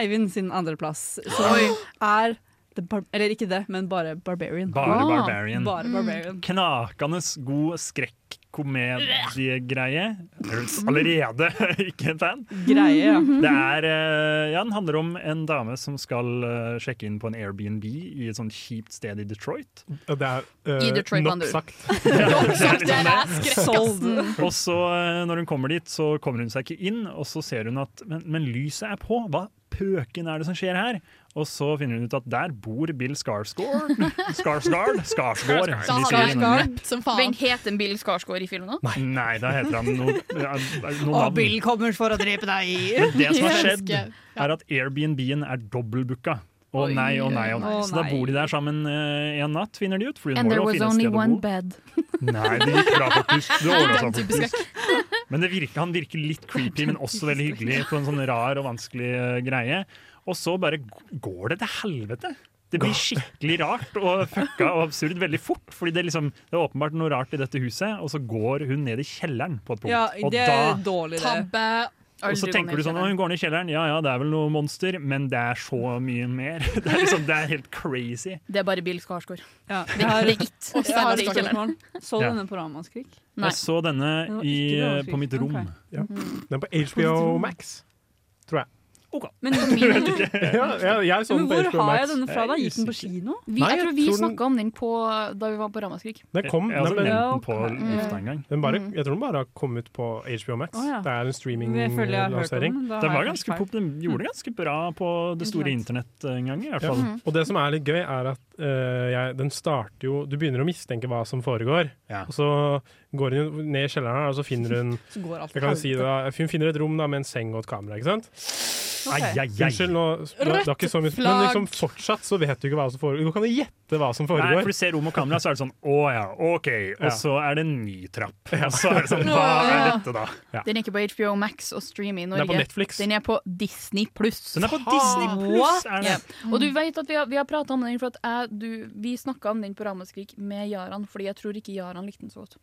Eivind sin andreplass. Som er The Bar Eller ikke det, men bare Barbarian. Bare Barbarian. Bare Barbarian. Knakende god skrekk-komediegreie. Er du Allerede ikke en fan. Greie, ja. Det er, eh, ja, den handler om en dame som skal eh, sjekke inn på en Airbnb i et sånt kjipt sted i Detroit. Og det er I eh, Detroit, nok Bandur. sagt. Sold. Og så eh, når hun kommer dit, så kommer hun seg ikke inn, og så ser hun at men, men lyset er på. Hva pøken er det som skjer her? Og så finner hun ut at der bor Bill Skarsgård. Skarsgård? Skarsgård. Da som de hadde sier i jeg Norge. rapt som Hvem faen. het en Bill Skarsgård i filmen nå? Nei, da heter han noe, ja, noe navn. kommer for å drepe deg! Men det som har Jeg skjedd, elsker. er at Airbnb-en er dobbeltbooka. Å nei, å nei, å nei. Å Så da nei. bor de der sammen eh, en natt, finner de ut. For hun And må there jo was finne et only sted å one bo. bed. Nei, det gikk bra, faktisk. Det ordnet Den seg type faktisk. Men det virker, han virker litt creepy, men også veldig hyggelig på en sånn rar og vanskelig eh, greie. Og så bare g- går det til helvete. Det blir skikkelig rart og fucka og absurd veldig fort. Fordi det, liksom, det er åpenbart noe rart i dette huset, og så går hun ned i kjelleren på et punkt. Ja, og det er dårlig, det. Tabbe. og så Aldri tenker gå du ned i sånn, «Å, hun går ned i kjelleren, ja ja, det er vel noe monster, men det er så mye mer. Det er, liksom, det er helt crazy. Det er bare Bill Skarsgård. Ja, jeg har, Det er it. jeg har et Det er ikke spørsmål. Så du Ja. denne på Ramaskrik? Nei. Jeg så denne i, eh, Det var ikke på mitt rom. overraskende. Den er på HBO Max. Men, ja, ja, jeg så sånn men den på hvor HBO har Max. jeg denne fra? da? Gikk den på usikker. kino? Vi, Nei, jeg jeg tror vi tror den- snakka om den på, da vi var på Ramaskrik. Den kom, Jeg har også nei, men nevnt den, den på ok. lufta en gang. den bare, jeg tror den bare har kommet på HBO Max. Mm. Å, ja. Det er en Jeg føler jeg har hørt om streaminglansering. den. da Den har var jeg ganske hørt feil. pop, den gjorde det ganske bra på det store internett en gang, i hvert Ja. fall. Og det som er litt gøy, er at eh, jeg, den starter jo Du begynner å mistenke hva som foregår, Ja. og så går hun jo ned i kjelleren, her, og så finner hun Så går alt jeg kan jo si det, da, Hun finner et rom da, med en seng og et kamera, ikke sant? Ai, ai, ai. Unnskyld, nå, nå det var Rødt ikke så mye Men flagg. liksom fortsatt så vet du ikke hva som foregår. Du kan jo gjette hva som Nei, foregår. for du ser rom og kamera, så er det sånn Å ja, OK. Ja. Og så er det en ny trapp. Og så er det sånn Hva er Ja. dette, da? Den er ikke på HBO Max og stream i er Norge. på Netflix. Den er på Disney Pluss. Den er på Disney Plus, er det? Og du vet at vi har, vi har prata om den, for at jeg, du, vi snakka om den på Ramaskrik med Jaran, fordi jeg tror ikke Jaran likte den så godt.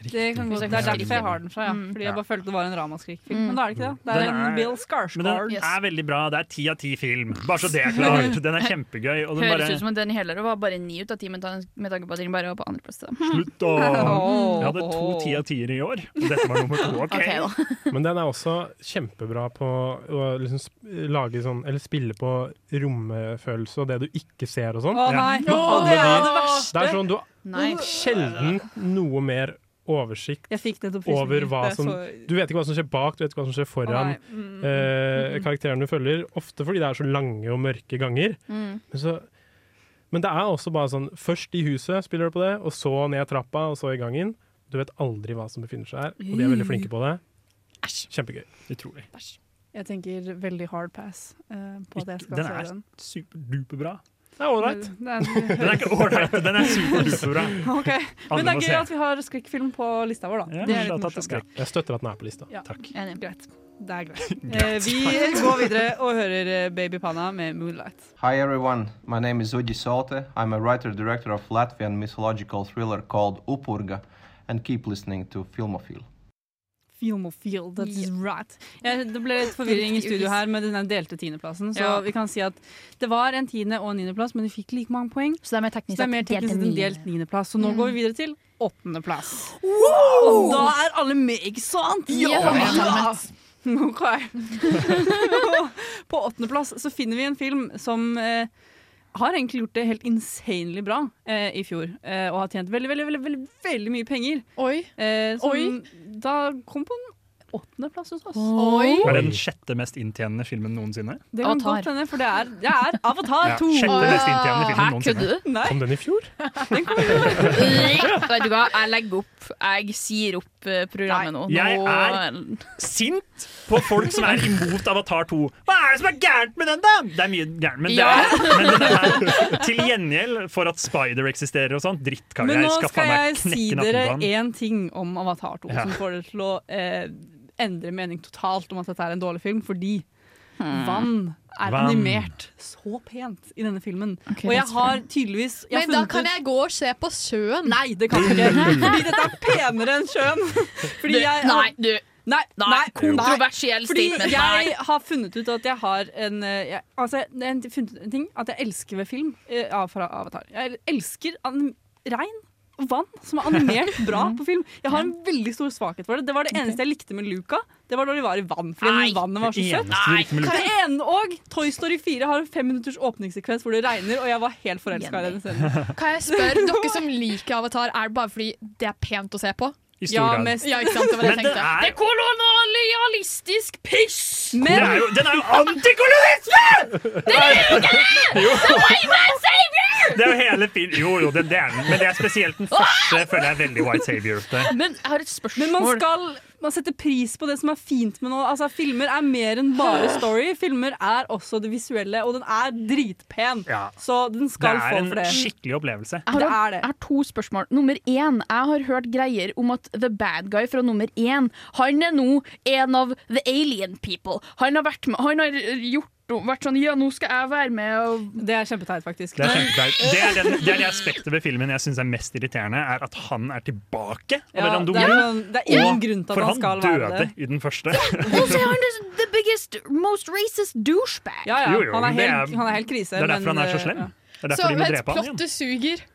Det, kan godt, det er derfor jeg har den fra, ja. Mm. Fordi jeg bare følte det var en Ramaskrik-film. Mm. Men da er det ikke det. Det er Den en er- Bill Men den Skarsgård. er veldig bra. Det er ti av ti film. Bare så det er klart. Den er kjempegøy. Og den Høres bare ut som at den heller var bare ni ut av ti, med tan- med tanke på at den bare var på andreplass. Slutt, da! Jeg hadde to ti av tier i år. Og dette var nummer to. OK. Men den er også kjempebra på å liksom sp- lage sånn Eller spille på romfølelse og det du ikke ser og sånn. Å, nei. Ja. Å, det er Alle det verste. Det er sånn, du Nei. har sjelden noe mer oversikt Jeg fikk nettopp frysninger. over hva Det er som så- Du vet ikke hva som skjer bak, du vet ikke hva som skjer foran Å, nei. Mm. eh, karakteren du følger. Ofte fordi det er så lange og mørke ganger. Mm. Men, så, men det er også bare sånn Først i huset spiller du på det, og så ned trappa, og så i gangen. Du vet aldri hva som befinner seg her, og de er veldig flinke på det. Kjempegøy. Utrolig. Jeg tenker veldig hard pass eh, på at jeg skal Den se er den. superduperbra. Det er ålreit. Den er ikke ålreit, den er superduperbra. Ok, Alle Men det må er se. gøy at vi har skrekkfilm på lista vår, da. Ja, Det er litt slett at det morsomt. skrek. Jeg støtter at den er på lista. Ja. Enig. Greit. Det er greit. Eh, Greit. vi går videre og hører eh, Baby Panna med 'Moonlight'. Hi everyone, my name is Udi Saute. I'm a writer director of Latvian mythological thriller called Upurga, and keep listening to Filmophile. Filmofil, that is right. Jeg, det ble litt forvirring i studio her med den der delte tiendeplassen. Så Ja. vi kan si at det var en tiende- og en niendeplass, men de fikk like mange poeng. Så det er mer teknisk sett sett delt en en niende. delt niendeplass. Så nå Mm. går vi videre til åttendeplass. Wow! Og da er alle med, ikke sant? Ja! Ja. Ok. På åttendeplass så finner vi en film som eh, har egentlig gjort det helt insanely bra eh, i fjor. Eh, og har tjent veldig, veldig, veldig, veldig, veldig mye penger. Oi. Eh, som Oi. da kom på en åttendeplass hos oss. Er det den sjette mest inntjenende filmen noensinne? Det kan Avatar. godt hende, for det er, det er Avatar Ja, 2. sjette mest inntjenende filmen Hæ, noensinne. kødder du? Nei. Kom den i fjor? Vet du hva, jeg legger opp. Jeg sier opp eh, programmet nå. Jeg Nå- er sint på folk som er imot Avatar 2. Hva er det som er gærent med den, da?! Det er mye gærent, men, Ja. det er, men den er til gjengjeld for at Spider eksisterer og sånn. Drittkarer. Men nå Jeg skal skal faen meg jeg si knekke dere nattenbanen. én ting om Avatar 2 Ja. som får det til å eh, endre mening totalt om at dette er en dårlig film, fordi Hmm. vann er Vann. animert så pent i denne filmen. Ok, og jeg that's har fair. tydeligvis jeg har Men da funnet kan ut- jeg gå og se på sjøen. Nei, det kan du ikke. Fordi dette er penere enn sjøen. Fordi Du, jeg, nei, du. Nei, Nei, nei, kontroversiell Fordi statement, nei. jeg har funnet ut at jeg har en eh, jeg, Altså, det er en, funnet ut en ting at jeg elsker ved film eh, av- fra Avatar. Jeg elsker an, regn og vann som er animert bra på film. Jeg har en veldig stor svakhet for det. Det var det eneste jeg likte med Luca. Det var da de var i vann, fordi Nei. vannet var så Det søtt. eneste du likte med Luca. Det ene og Toy Story 4 har en fem minutters åpningssekvens hvor det regner, og jeg var helt forelska i den scenen. Kan jeg spørre, dere som liker Avatar, er det bare fordi det er pent å se på? I stor Ja, grad. mest. Ja, ikke sant, det var det jeg Men det tenkte. er- Det er kolonialistisk piss! Den er jo- den er jo antikolonialisme! Det er jo ikke det! Jo. The white man savior! Det er jo hele film Jo, jo, det, det er den. Men det er spesielt den første, føler jeg er veldig White Savior. Det. Men jeg har et spørsmål. Men man skal man setter pris på det som er fint med noe. Altså, filmer er mer enn bare story. Filmer er også det visuelle, og den er dritpen. Så den det skal er få en for det. skikkelig opplevelse. Jeg har, jeg har to spørsmål. Nummer én. Jeg har hørt greier om at The Bad Guy fra nummer én Han er nå en av The Alien People. Han har vært med Han har gjort vært sånn Ja, nå skal jeg være med og Det er kjempeteit, faktisk. Det er, kjempeteit. det, er den, det er det aspektet ved filmen jeg syns er mest irriterende, er at han er tilbake. Ja, Eller han det er dør. sånn- det er ingen Og- grunn til at for han skal døde være det. i den første. Og så er han the, the biggest, most racist douchebag. Ja, ja. Jo, jo, han, er det helt, er- han er helt krise. Det er derfor han men, er så eh, slem. ja. Det er derfor de må drepe han igjen. plottet suger.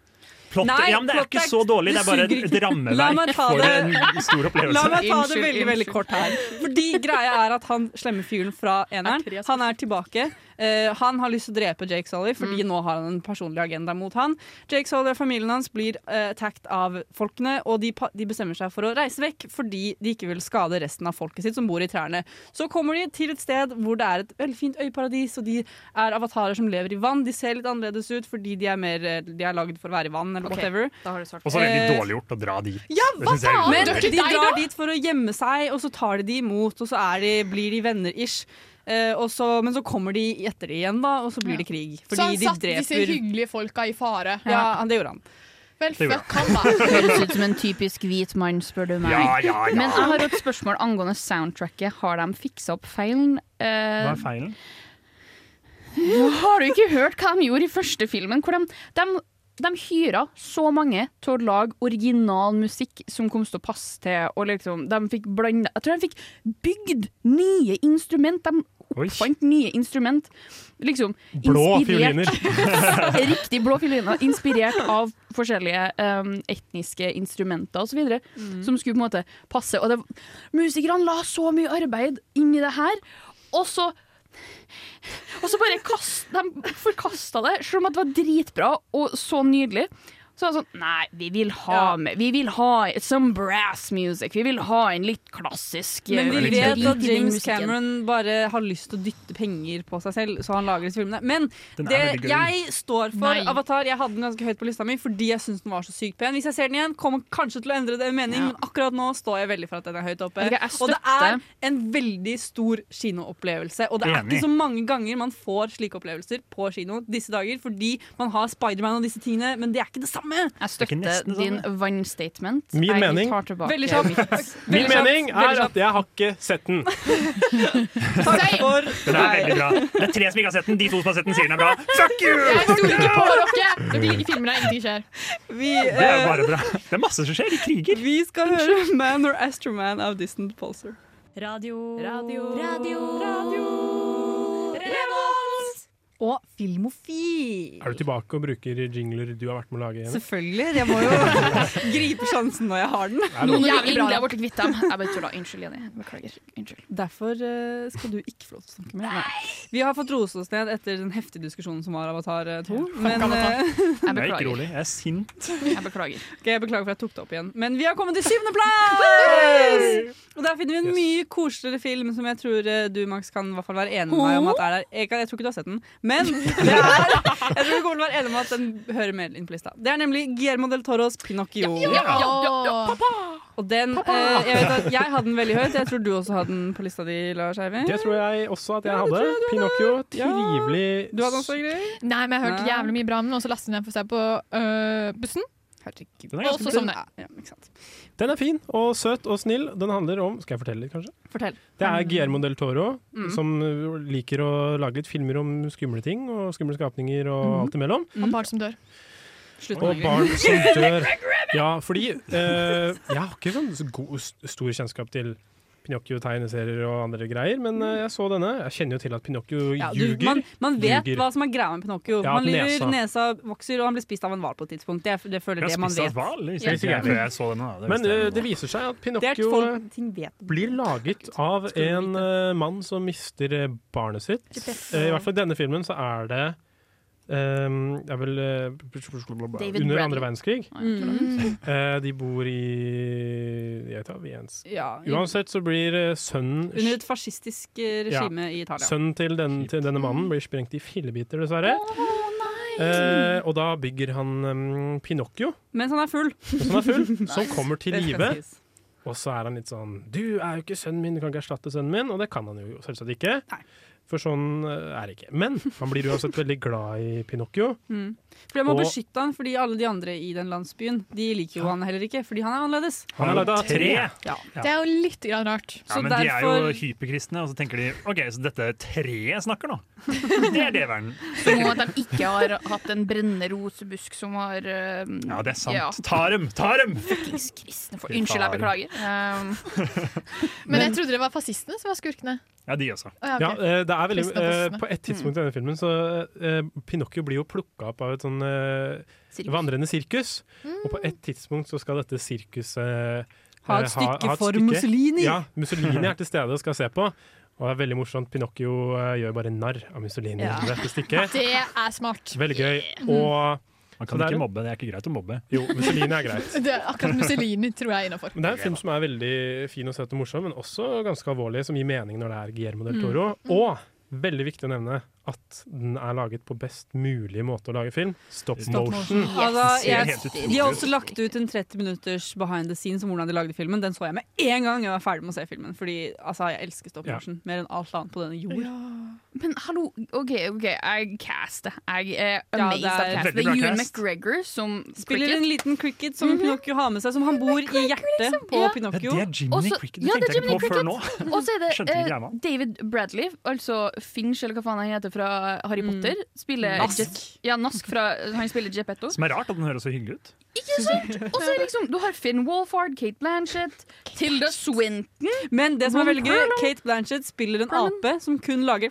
Plottet, Nei, ja, men det er ikke plottet- så dårlig, det er bare det suger et ikke. La meg rammeverk ta for det- en stor opplevelse. La meg ta det veldig veldig kort her. Fordi greia er at han slemme fyren fra eneren, han er tilbake. Eh, han har lyst til å drepe Jake Sully, fordi nå har han en personlig agenda mot han. Jake Sully og familien hans blir uh, attacked av folkene, og de, pa- de bestemmer seg for å reise vekk fordi de ikke vil skade resten av folket sitt som bor i trærne. Så kommer de til et sted hvor det er et veldig fint øyparadis, og de er avatarer som lever i vann. De ser litt annerledes ut fordi de er, mer, eh, de er lagd for å være i vann, eller Ok, whatever. Og så er det Eh, veldig dårlig gjort å dra dit. ja, Det hva synes jeg er veldig faen? Men dårlig. de drar dit for å gjemme seg, og så tar de de imot, og så er de, blir de venner-ish. Eh, og så, men så kommer de etter det igjen, da, og så blir det krig. Fordi så han de satt disse dreper hyggelige folka i fare. Ja, han- det gjorde han. Vel, Det gjorde fuck han, da. Høres ut som en typisk hvit mann, spør du meg. Ja, ja, ja. Men jeg har et spørsmål angående soundtracket. Har de fiksa opp feilen? Eh, Hva er feilen? Har du ikke hørt hva de gjorde i første filmen? Hvor de, de, de hyra så mange til å lage original musikk som kom til å passe til. Og liksom, de fikk blanda Jeg tror de fikk bygd nye instrument. De oppfant nye instrument. Liksom, Blå inspirert- fioliner. Riktig, blå fioliner. Inspirert av forskjellige um, etniske instrumenter osv. videre Mm. Som skulle på en måte passe. Og det, musikerne la så mye arbeid inn i det her. Og så og så bare kast, de forkasta det, selv om at det var dritbra og så nydelig. Så var det sånn Nei, vi vil ha med Vi vil ha some brass music. Vi vil ha en litt klassisk Men eh, vi litt vet rik i den at James musikken. Cameron bare har lyst til å dytte penger på seg selv, så han lager disse filmene. Men Den er det veldig gøy. jeg står for Nei. Avatar. Jeg hadde den ganske høyt på lista mi fordi jeg syns den var så sykt pen. Hvis jeg ser den igjen, kommer jeg kanskje til å endre det mening, Ja. men akkurat nå står jeg veldig for at den er høyt oppe. Jeg liker- jeg og det støtter. er en veldig stor kinoopplevelse. Og det er Enig. ikke så mange ganger man får slike opplevelser på kino disse dager, fordi man har Spiderman og disse tingene, men det er ikke sånn, det samme. Jeg støtter din one-statement. Min Jeg mening- tar tilbake Veldig kjapt. mitt. Min Veldig kjapt, mening veldig er at jeg har ikke sett den. Takk for Den er veldig bra. Det er tre som ikke har sett den. De to som har sett den, sier den er bra. Fuck you! Jeg stoler ikke på dere! Dere liker filmer der ingenting skjer. Vi, eh, Det er jo bare bra. Det er masse som skjer. De kriger. Vi skal høre Man or Astroman av Distant Pulsar. Radio. Radio. Radio. Radio. Revolt! Og filmofil. Er du tilbake og bruker jingler du har vært med å lage? Jenny? Selvfølgelig. Jeg må jo gripe sjansen når jeg har den. Noen Noen jævlig bra der borte kvitt dem. Jeg bare tulla. Unnskyld, Jenny. Beklager. Unnskyld. Derfor eh, skal du ikke få lov til å snakke mer. Nei. Vi har fått rose oss ned etter den heftige diskusjonen som var Avatar 2. Men, eh, Jeg er ikke rolig. Jeg er sint. Jeg beklager. Ok, jeg beklager for at jeg tok det opp igjen. Men vi har kommet til syvende plass! Og der finner vi en Yes. mye koseligere film som jeg tror eh, du, Max, kan i hvert fall være enig med meg om at er der. Jeg, kan, jeg tror ikke du har sett den, men det er, jeg tror vi kommer til å være enig med at den hører mer inn på lista. Det er nemlig Guillermo del Toros Pinocchio. Og den, eh, jeg vet at jeg hadde den veldig høyt. Jeg tror du også hadde den på lista di, Lars Eivind. Det tror jeg også at jeg hadde. Pinocchio, trivelig Du hadde den også, Ingrid? Nei, men jeg har hørt Nei. jævlig mye bra om den, og så lastet jeg ned for seg på øh, bussen. Den er ganske Og så bra. sovnet jeg. Ja, ikke sant. Den er fin og søt og snill. Den handler om Skal jeg fortelle litt, kanskje? Fortell. Det er Guillermo del Toro, Mm. som uh, liker å lage litt filmer om skumle ting og skumle skapninger og Mm. alt imellom. Og barn som dør. Og barn som dør. Ja, fordi eh, jeg har ikke sånn så god, st- stor kjennskap til Pinocchio-tegneserier og andre greier, men eh, jeg så denne. Jeg kjenner jo til at Pinocchio Mm. Ja, du, ljuger. man, man vet Ljuger. hva som er greia med Pinocchio. Ja, han lyver, nesa. nesa. vokser, og han blir spist av en hval på et tidspunkt. Det, er- det føler Jeg det har man spist av vet. et hval. liksom. Det Jeg visste visste ikke jeg ikke før jeg så den. da. Det Men visste eh, jeg nå. det viser seg at Det er at Pinocchio eh, folk ting vet. blir laget av en eh, mann som mister eh, barnet sitt. Ikke Eh, I hvert fall i denne filmen så er det ehm, det er vel eh, David under Bradley. andre verdenskrig. Mm. Eh, de bor i jeg tar Viens. Ja, i- Uansett så blir eh, sønnen Under et fascistisk eh, regime i Italia. Sønnen til, den, til denne Mm. mannen blir sprengt i fillebiter, dessverre. Eh, og da bygger han em, Pinocchio, Mens han er full. som er full, som kommer til Det skal live. sies. Og så er han litt sånn Du er jo ikke sønnen min, du kan ikke erstatte sønnen min. Og det kan han jo selvsagt ikke. For sånn eh, er det ikke. Men han blir uansett veldig glad i Pinocchio. Mm. For jeg må Og- beskytte han, fordi alle de andre i den landsbyen De liker jo han heller ikke, fordi han er annerledes. Han er laget av tre. Ja. Det er jo litt grann rart. Ja, men De er jo hyperkristne, og så tenker de OK, så dette treet snakker nå? Det er leveren. Som om at de ikke har hatt en brennende rosebusk som har eh, Ja, det er sant. ja. Ta dem! Ta dem! Fuckings kristne folk. Fy Unnskyld, jeg faen. beklager. Um, Men jeg trodde det var fascistene som var skurkene. Ja, de også. Å, ja, ok. Ja, eh, det er veldig, Kristne og eh, kristne. på et tidspunkt i denne filmen så eh, Pinocchio blir jo plukka opp av et sånn eh, Sirkus. Mm. vandrende sirkus. Og på et tidspunkt så skal dette sirkuset eh, Ha et eh, stykke for Mussolini. Ja, Mussolini er til stede og skal se på. Og det er veldig morsomt. Pinocchio eh, gjør bare narr av Mussolini Ja. i dette stykket. Det er smart. Veldig gøy. Yeah. Og Man kan ikke mobbe, det er ikke greit å mobbe. Jo, Mussolini er greit. Det er akkurat Mussolini tror jeg er innafor. Men Det er en film som er veldig fin og søt og morsom, men også ganske alvorlig, som gir mening når det er Guillermo del Toro. Mm. Og veldig viktig å nevne at den er laget på best mulig måte å lage film. Stop, Stop motion. motion. Altså, jeg, de har også lagt ut en 30 minutters behind the scenes om hvordan de lagde filmen. Den så jeg med en gang jeg var ferdig med å se filmen. Fordi altså, jeg elsker stop Ja. motion mer enn alt annet på denne jord. Men hallo, OK, ok, jeg castet. Jeg er Ja, amazed det er- av castet. Veldig Det bra er Ewan cast. McGregor som Spiller en liten cricket som Pinocchio har med seg, som han bor i hjertet på Pinocchio. Ja, det er Jiminy Også- Cricket. Det Ja, tenkte det er jeg Jiminy ikke på før Cricket. nå. Og så er det Skjønte ikke eh, greia. David Bradley, altså Finch eller hva faen han heter fra Harry Potter. Spiller Nask. Jet- Ja, Nask fra, han spiller Geppetto. Som er rart at den høres så hyggelig ut. Ikke sant? Og så er liksom, du har Finn Wolfhard, Kate Blanchett, Tilda Swinton Men det som er Ron veldig gøy, Perlman. Kate Blanchett spiller en ape som kun lager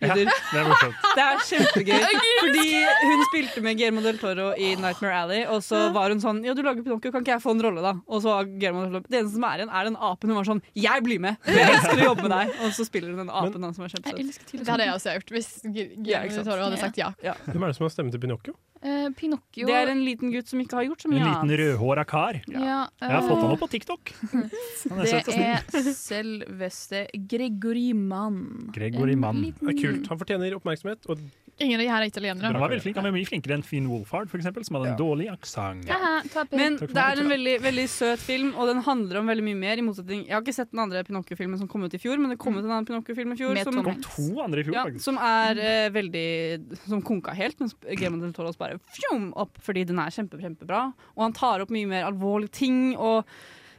lyder. Det er sånn, morsomt. Det er kjempegøy. Jeg elsker Fordi hun spilte med Guillermo del Toro i Nightmare Alley, og så var hun sånn Ja, du lager Pinocchio, kan ikke jeg få en rolle, da? Og så var Guillermo del Toro Det eneste som er igjen, er den apen. Hun var sånn Jeg blir med! Jeg elsker å jobbe med deg! Og så spiller hun den apen da, som er kjempesøt. Det hadde jeg også gjort hvis Guillermo Ja, ikke del sant. Toro hadde sagt ja. Hvem er det som har stemme til Pinocchio? Eh, Pinocchio Det er en liten gutt som ikke har gjort så En mye liten rødhåra kar. Ja, Jeg har fått han opp på TikTok. Han er Det søt og er snill. selveste Gregory Mann. Gregory En Mann. liten- Det er kult. Han fortjener oppmerksomhet. Og Ingen av de her er italienere. Han var veldig flink. Han var mye flinkere enn Finn Wolfhard, for eksempel, som hadde en dårlig aksent. Men Takk for det er meg. en veldig, veldig søt film, og den handler om veldig mye mer. I motsetning, Jeg har ikke sett den andre Pinocchio-filmen som kom ut i fjor, men det kom ut en annen Pinocchio-film i fjor. Mm. Med som, Tom Hanks. Det kom to andre i fjor, ja, faktisk. Som er eh, veldig Som konka helt, mens Game of the Toros bare fjom, opp, fordi den er kjempe, kjempebra. Og han tar opp mye mer alvorlige ting. og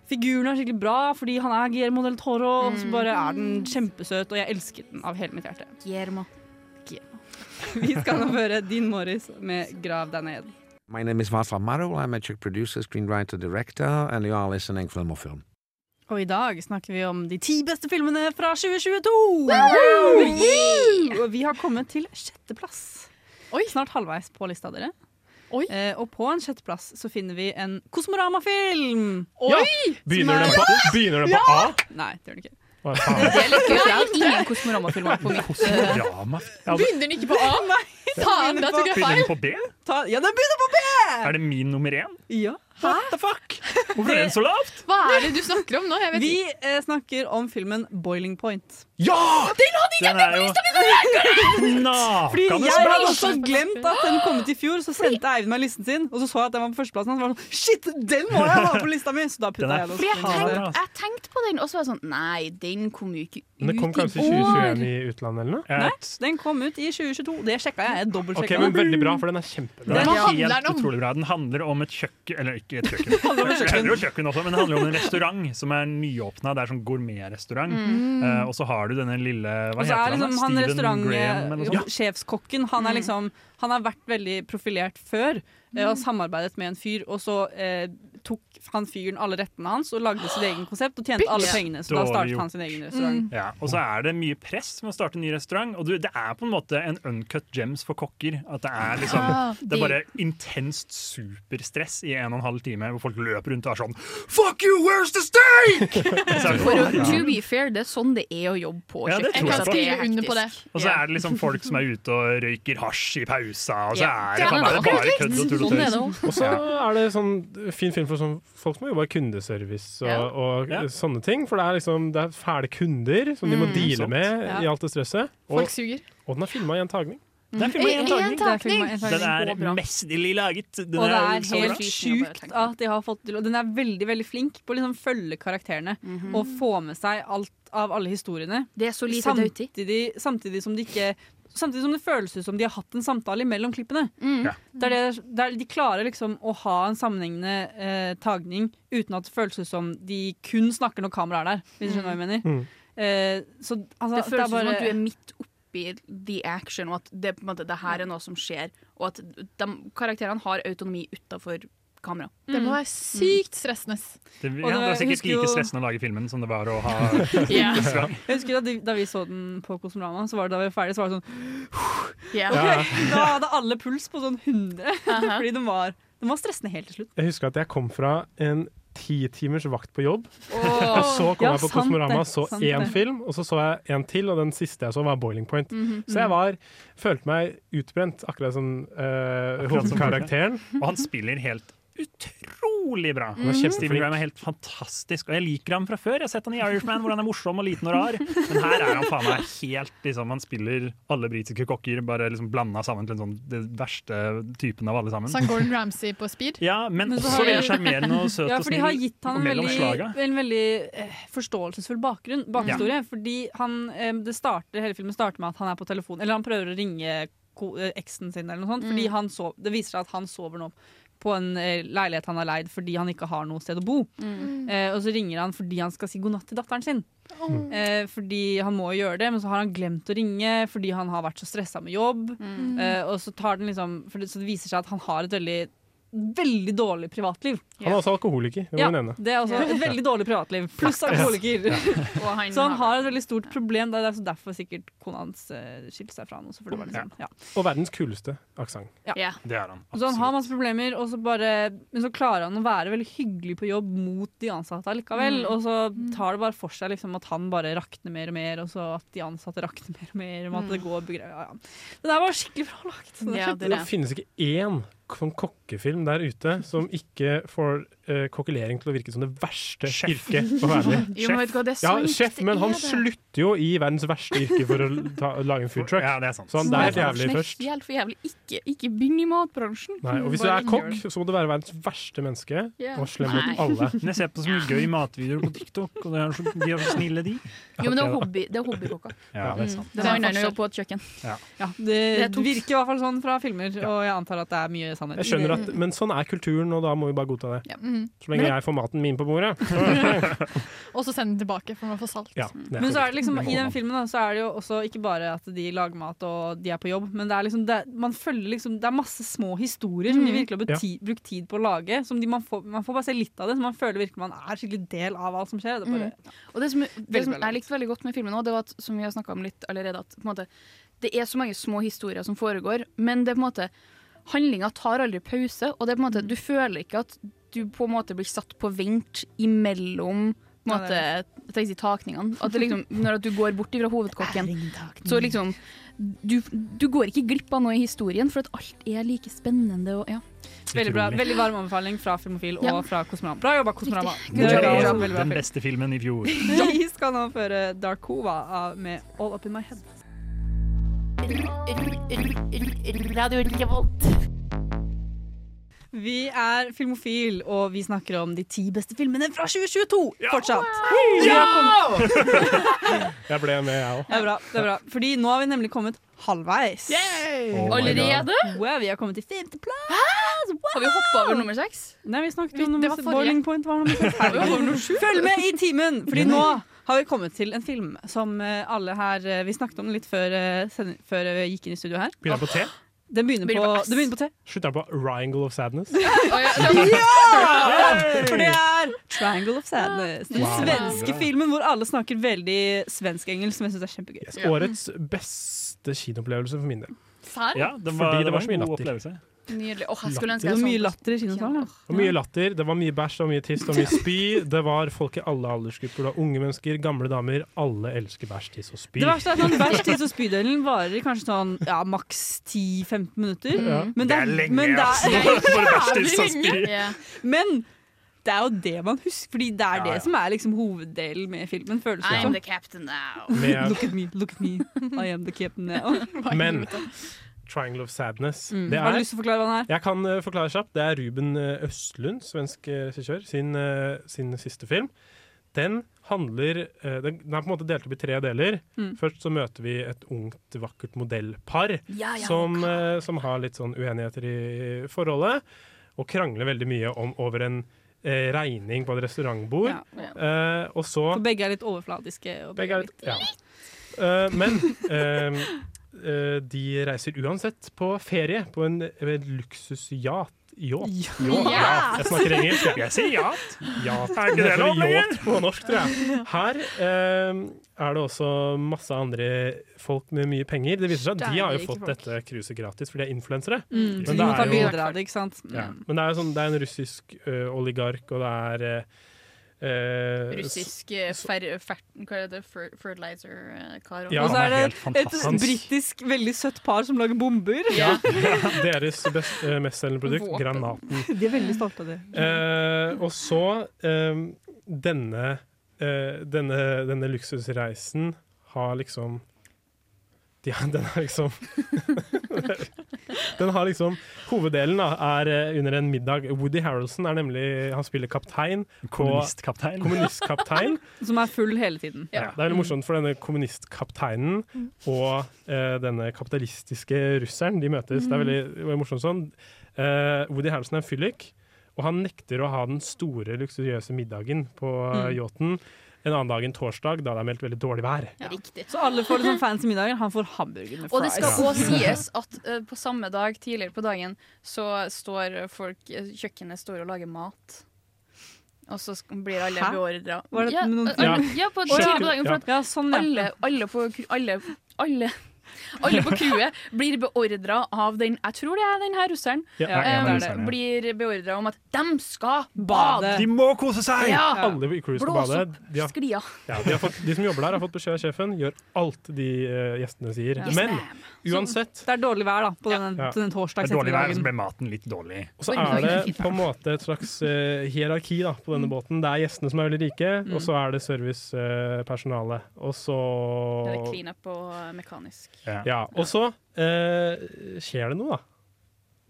Figuren er skikkelig bra fordi han er Guillermo del Toro. Og Mm. så bare er den kjempesøt, og jeg elsket den av hele mitt hjerte. Guillermo. Vi skal nå høre Dean Morris med 'Grav deg ned'. My name is Václav Marul. I'm a Czech producer, screenwriter, director, and you are listening to Filmofilm. Og i dag snakker vi om de ti beste filmene fra 2022! Og vi har kommet til sjetteplass. Snart halvveis på lista dere. Eh, og på en sjetteplass så finner vi en Kosmorama-film. Ja! Begynner den på, begynner den på Ja! A? Nei, det gjør den ikke. Hva Det er faen? litt kult. Jeg har ingen Kosmorama-filmer på mitt eh, Kosmorama. Begynner den ikke på A? Nei. Faen, da tok jeg Begynner feil. den på B? Ta, ja, den begynner på B! Er det min nummer én? Ja. What the fuck? Hvorfor er den så lavt? Hva er det du snakker om nå? Jeg vet Vi ikke. eh, snakker om filmen Boiling Point. Ja! Den hadde Den er jo Fordi nakende jeg hadde splash! også glemt at den kom ut i fjor, så sendte Eivind meg listen sin. Og så så jeg at den var på førsteplassen, og så var han sånn Shit, den må jeg ha på lista mi! Så da Den putta er jeg den Fordi jeg også. tenkte, jeg tenkte på den, og så var jeg sånn Nei, den kom jo ikke ut Men det kom kanskje i år. 2021 i utlandet eller noe? Nei, eh, den kom ut i 2022. Det sjekka jeg. jeg. Ok, Dobbeltsjekka men det. Veldig bra, for den er kjempebra. Den er Hva handler helt den om? utrolig bra. Den handler om et kjøkken Eller ikke et kjøkken. handler om et Det kjøkken. er jo kjøkken også, men det handler om en restaurant som er nyåpna. Det er sånn gourmetrestaurant. Mm. Eh, og så har du denne lille Hva Og så heter er han? da? liksom han Stephen Graham eller noe sånt? restaurantsjefskokken han, Mm. er liksom, han har vært veldig profilert før eh, Mm. og samarbeidet med en fyr, og så eh, tok han fyren alle rettene hans og lagde sitt egen konsept og tjente alle Bitch. pengene, så da Dårlig startet gjort. han sin egen Mm. restaurant. Ja, og så er det mye press med å starte en ny restaurant. Og du, det er på en måte en uncut gems for kokker. At det er liksom Ah, Det er bare intenst superstress i en og en halv time, hvor folk løper rundt og er sånn Fuck you, where's the steak?! Og så er det For å, sånn, ja. to be fair, det er sånn det er å jobbe på Ja, det kjøkken. tror jeg på. skrive under på det. Og så er det liksom folk som er ute og røyker hasj i pausa, og så Ja. er det faen meg Det bare er det. kødd og tull og Sånn er det tøys. også. Og så er det sånn fin film for sånn, folk som jobber i kundeservice og, Ja. og Ja. sånne ting. For det er liksom det er fæle kunder som de må Mm. deale Sant. med Ja. i alt det stresset. Folk suger. og den er filma i en tagning. Den er filmet i en tagning. Det er filmet i en tagning. Den er mesterlig laget. Den liksom og det er så helt bra. sjukt at de har fått til Og den er veldig veldig flink på å liksom følge karakterene Mhm. og få med seg alt av alle historiene. Det er så lite samtidig, samtidig som det ikke Samtidig som det føles ut som de har hatt en samtale mellom klippene. Mm. Ja. Det er det, det er, de klarer liksom å ha en sammenhengende eh, tagning uten at det føles ut som de kun snakker når kameraet er der. Hvis du skjønner hva jeg mener. Mm. Eh, så, altså, det føles er bare- som at du er midt oppi the action, og at det, på en måte, det her er noe som skjer. Og at de karakterene har autonomi utafor kamera. Det må være sykt stressende. Mm. Det, Og ja, det er det- sikkert husker jo- like stressende å lage filmen som det var å ha Ja. restaurant. Jeg husker da, de, da vi så den på Kosmorama, så var det da vi var ferdig, så var det sånn Ja. Ok, Da hadde alle puls på sånn 100, fordi den var, den var stressende helt til slutt. Jeg husker at jeg kom fra en ti timers vakt på jobb. Og så kom Ja, jeg på sant Kosmorama det, så sant én det. film, og så så jeg en til, og den siste jeg så, var Boiling Point. Mhm. Så jeg var, følte meg utbrent, akkurat som eh, Akkurat som hovedkarakteren. Og han spiller helt utrolig bra. Han var kjempeflink. Steve Graham er helt fantastisk, og jeg liker ham fra før. Jeg har sett han i Irishman, hvor han er morsom og liten og rar. Men her er han faen meg helt liksom, Han spiller alle britiske kokker bare liksom blanda sammen til en sånn den verste typen av alle sammen. Sånn Gordon Ramsay på speed. Ja, men Men så også har de- veldig sjarmerende og søt ja, og for de snill. har gitt han og en mellom veldig, slaga. en veldig eh, forståelsesfull bakgrunn, bakhistorie. Fordi han, eh, det starter, hele filmen starter med at han er på telefon Eller han prøver å ringe ko- eh, eksen sin, eller noe sånt. Fordi Mm. han sov, det viser seg at han sover nå på en eh, leilighet han har leid fordi han ikke har noe sted å bo. Mm. Eh, og så ringer han fordi han skal si god natt til datteren sin. Mm. Eh, fordi han må jo gjøre det, men så har han glemt å ringe fordi han har vært så stressa med jobb. Mm. Eh, og så, tar den liksom, for det, så det viser seg at han har et veldig, veldig dårlig privatliv. Han er også alkoholiker, det må Ja, vi nevne. det er også et veldig dårlig privatliv, pluss alkoholiker. Og han Så han har et veldig stort problem. Det er så derfor sikkert kona hans eh, skilte seg fra han. Også, for det var liksom, ja. Og verdens kuleste aksent. Ja. Ja. Det er han. Så han har masse problemer, og så bare, men så klarer han å være veldig hyggelig på jobb mot de ansatte likevel. Mm. Og så tar det bare for seg liksom, at han bare rakner mer og mer, og så at de ansatte rakner mer og mer. Og at Mm. det går begre- ja, ja. Det der var skikkelig bra lagt. Det er det, kjempebra. finnes ikke én sånn kokkefilm der ute som ikke får eh, kokkelering til å virke som det verste yrket på verden. Jo, men vet du hva, det er Ja, sant, sjef, det men han er det. slutter jo i verdens verste yrke for å ta, lage en food truck. Så Sånn han det er helt jævlig først. Det er helt for jævlig. Ikke, ikke begynn i matbransjen. Nei, og hvis du Bare er ikke gjør kokk, det. så må du være verdens verste menneske Ja. og slem mot Nei. alle. Men jeg ser på så mye gøy matvideoer på TikTok, og det er så, de er så snille, de. Jo, men det er hobby, det er hobbykokka. Ja, det er sant. Mm. Det er Det er annet enn å forskjell. jobbe på et kjøkken. Ja. Ja, det, Det er tungt. virker i hvert fall sånn fra filmer, og jeg antar at det er mye sannhet. Jeg skjønner at, i det. Men sånn er kulturen, og da må vi bare godta det. Mm. Mhm. Så lenge jeg får maten min på bordet. Og så sende den tilbake, for man får salt. Ja, det Men så er det liksom, Det må i den man. filmen da, så er det jo også ikke bare at de lager mat og de er på jobb, men det er liksom, det, er- man følger liksom, det er masse små historier som de Mhm. virkelig har Ja. beti, brukt tid på å lage. Som de, man, får, man får bare se litt av det, så man føler virkelig man er skikkelig del av alt som skjer. Det er bare, Mm. Og det som, det Veldig som bra jeg likte veldig godt med filmen, også, det var at, som vi har snakket om litt allerede, at på en måte, det er så mange små historier som foregår, men det er på en måte handlinga tar aldri pause. Og det er på en måte, du føler ikke at du på en måte blir satt på vent imellom på en Ja, måte, det er jeg tenker å si takningene. At det liksom, når at du går bort fra hovedkokken, så liksom du, du går ikke glipp av noe i historien, for at alt er like spennende. Og, ja. Veldig bra, veldig varm anbefaling fra Filmofil Ja. og fra Kosmorama. Bra jobba, Kosmorama! Riktig. Det Dere er ga oss en veldig bra den film. beste filmen i fjor. Vi skal nå føre Darkova av- med All Up In My Head. Radio Revolt. Vi er Filmofil, og vi snakker om de ti beste filmene fra 2022 fortsatt. Wow! Vi har kommet- Jeg ble med, jeg Det er òg. bra, det er bra. Fordi nå har vi nemlig kommet halvveis. Oh my Allerede? Wow, vi har kommet til femteplass! Har vi hoppa over nummer seks? Nei, vi snakket jo om Det var forrige. Boiling Point var nummer seks. Herregud. Følg med i timen, Fordi nå har vi kommet til en film som eh, alle her eh, Vi snakket om den litt før, eh, send- før vi gikk inn i studio her. Begynner jeg på T? Den begynner på, Begynner på S. den begynner på T. Slutter jeg på Triangle of Sadness? Ja! Hey! For det er Triangle of Sadness. Den Wow. svenske filmen hvor alle snakker veldig svensk-engelsk, som jeg syns er kjempegøy. Yes, Årets beste kinoopplevelse for min del. Serr? Ja, det var- Fordi det var så mye en god latter. opplevelse. Nydelig. Åh, jeg skulle Latter. ønske jeg Det var Mye sånn. latter i kinosalen. Det var mye latter, det var mye bæsj, det var mye tiss, det var mye spy. Det var folk i alle aldersgrupper. Det var unge mennesker, gamle damer. Alle elsker bæsj, tiss og spy. Det verste er at sånn Bæsj, tiss og spydølen varer i kanskje sånn ja, maks 10-15 minutter. Ja. Men Det er lenge, altså. men det ass. er, Bare bæsj, tiss og Jævlig lenge. spy. Ja. Men det er jo det man husker, Fordi det er Ja, det ja. som er liksom hoveddelen med filmen. Føles det I'm som. the captain now. Med- Look at me, look at me. I am the captain now. Men Triangle of Sadness Mm. det er, Har du lyst til å forklare hva den er? Jeg kan eh, forklare kjapt. Det er Ruben eh, Østlund, svensk eh, regissør, sin, eh, sin siste film. Den handler eh, Den den er på en måte delt opp i tre deler. Mm. Først så møter vi et ungt, vakkert modellpar Ja, ja, som, eh, som har litt sånn uenigheter i forholdet, og krangler veldig mye om over en eh, regning på et restaurantbord. Ja, Eh, og så For begge er litt overflatiske. Og begge er litt, ja. Eh, men ehm, eh, de reiser uansett på ferie på en, en luksusyacht. Yacht. Yacht. Yacht. Jeg snakker engelsk. Jeg sier yacht. Yacht. Er ikke det heter lov lenger? yacht på norsk, tror jeg. Her ehm, er det også masse andre folk med mye penger. Det viser seg at de har jo Steinrike fått folk. dette cruiset gratis, for de er influensere. Mm, Men så det de må er ta jo- bilder av det, ikke sant? eh, ja. Men det er jo sånn, det er en russisk ø, oligark, og det er ø, eh, Russisk eh, fer, fer, Hva heter det? Fer, eh, fertilizer-kar. Ja, og så han er er helt det et fantastisk. britisk veldig søtt par som lager bomber. Ja. Deres best, eh, mestselgende produkt, Våpen. granaten. De er veldig stolte av det. Eh, og så eh, denne, eh, denne Denne luksusreisen har liksom de har- Den har liksom Den har liksom Hoveddelen da, er eh, under en middag. Woody Harrelson er nemlig Han spiller kaptein. på- Kommunistkaptein. Kommunistkaptein. Som er full hele tiden. Ja. Det er veldig morsomt, for denne kommunistkapteinen Mm. og eh, denne kapitalistiske russeren, de møtes. Mm. Det er veldig, veldig morsomt sånn. Eh, Woody Harrelson er en fyllik, og han nekter å ha den store, luksuriøse middagen på eh, Mm. yachten en annen dag enn torsdag, da det er meldt veldig dårlig vær. Riktig. Så alle får liksom fancy middager. Han får hamburger med fries. Og det skal Ja. også sies at eh, på samme dag tidligere på dagen så står folk eh, Kjøkkenet står og lager mat. Og så sk- blir alle Hæ? beordra. Var det ja, noen- eh, alle- ja. på Oi, tidligere ja. på dagen. For at Ja, sånn, ja. alle, alle på ku- alle, alle alle på crewet blir beordra av den Jeg tror det er den her russeren. Ja, det er en av eh, russerne, ja. Blir beordra om at de skal bade! Bade. De må kose seg! Ja. Alle i crew skal Blås bade. opp De, har, sklia. ja, de, har fått, de som jobber der, har fått beskjed av sjefen. Gjør alt de eh, gjestene sier. Ja. Yes, Men ma'am. uansett Det er dårlig vær da, på den, Ja. på den torsdags Det er dårlig vær, ettermiddagen. så Ble maten litt dårlig? Og så er det på en måte et slags eh, hierarki da, på denne båten. Det er gjestene som er veldig rike, Mm. og så er det servicepersonalet. og så Det er cleanup og eh, mekanisk. Ja, og så eh, skjer det noe, da.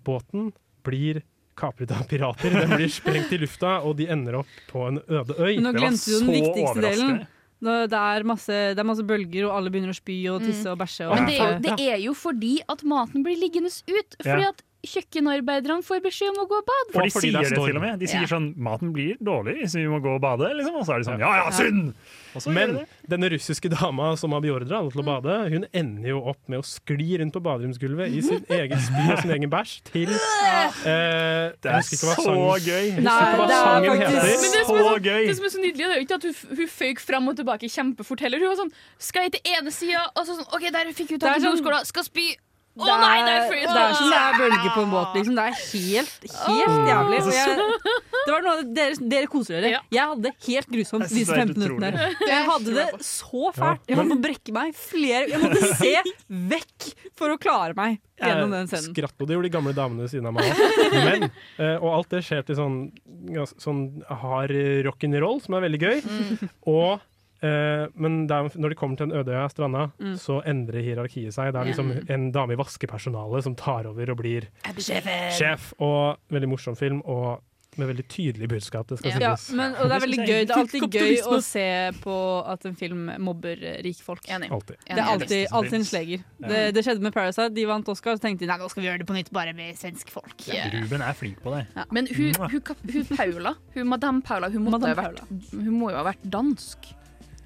Båten blir kapret av pirater. Den blir sprengt i lufta, og de ender opp på en øde øy. Men nå glemte du den viktigste delen. Nå, Det er, masse, det er masse bølger, og alle begynner å spy og tisse og bæsje. Og Mm. Men det er, jo, det er jo fordi at maten blir liggende ut. Fordi Ja. at kjøkkenarbeiderne får beskjed om å gå og bade. For de sier det til og med. De sier Ja. sånn 'maten blir dårlig, så vi må gå og bade'. Liksom. Og så er de sånn 'ja ja, synd'! Og så gjør Men de det. denne russiske dama som har beordra alle til å bade, hun ender jo opp med å skli rundt på baderomsgulvet i sin egen spy og sin egen bæsj til eh, jeg Det er husker ikke hva så sangen- gøy. Jeg husker Nei, ikke hva det er sangen faktisk heter. Men det som Så er så, gøy! Det som er så nydelig, det er jo ikke at hun, hun føyk fram og tilbake kjempefort heller. Hun var sånn Skal jeg til ene sida, og så sånn OK, der fikk hun Det tak er i sånn- jordskåla, skal spy. Å Det er- nei, der det frøs er som det er bølger på en båt, liksom. Det er helt, helt Åh. jævlig. Altså, Og jeg, det var noe av det, dere, dere koser dere. Jeg hadde det helt Jeg grusomt synes disse det er 15 utrolig. minuttene. Det Jeg hadde det så fælt. Jeg måtte brekke meg flere Jeg måtte se vekk for å klare meg gjennom den Jeg scenen. skratt, og det gjorde de gamle damene ved siden av meg også. Men, eh, og alt det skjer til sånn, gans- sånn hard rock'n'roll, som er veldig gøy. Mm. Og, eh, men det er, når de kommer til den øde øya stranda, Mm. så endrer hierarkiet seg. Det er liksom en dame i vaskepersonalet som tar over og blir Eh, Jeg blir sjefen. sjef. Og veldig morsom film, og med veldig tydelig budskap, det skal Ja, sies. men, og det er veldig gøy. Det er alltid gøy å se på at en film mobber eh, rike folk. Alltid. Det er alltid, alltid en sleger. Ja. Det, det skjedde med Parasite. De vant Oscar, så tenkte de nei, nå skal vi gjøre det på nytt, bare med svenske folk. Ruben er flink på det. Men hun, hun, kap- hun Paula, hun, madame Paula, hun, måtte ha vært, hun må jo ha vært dansk.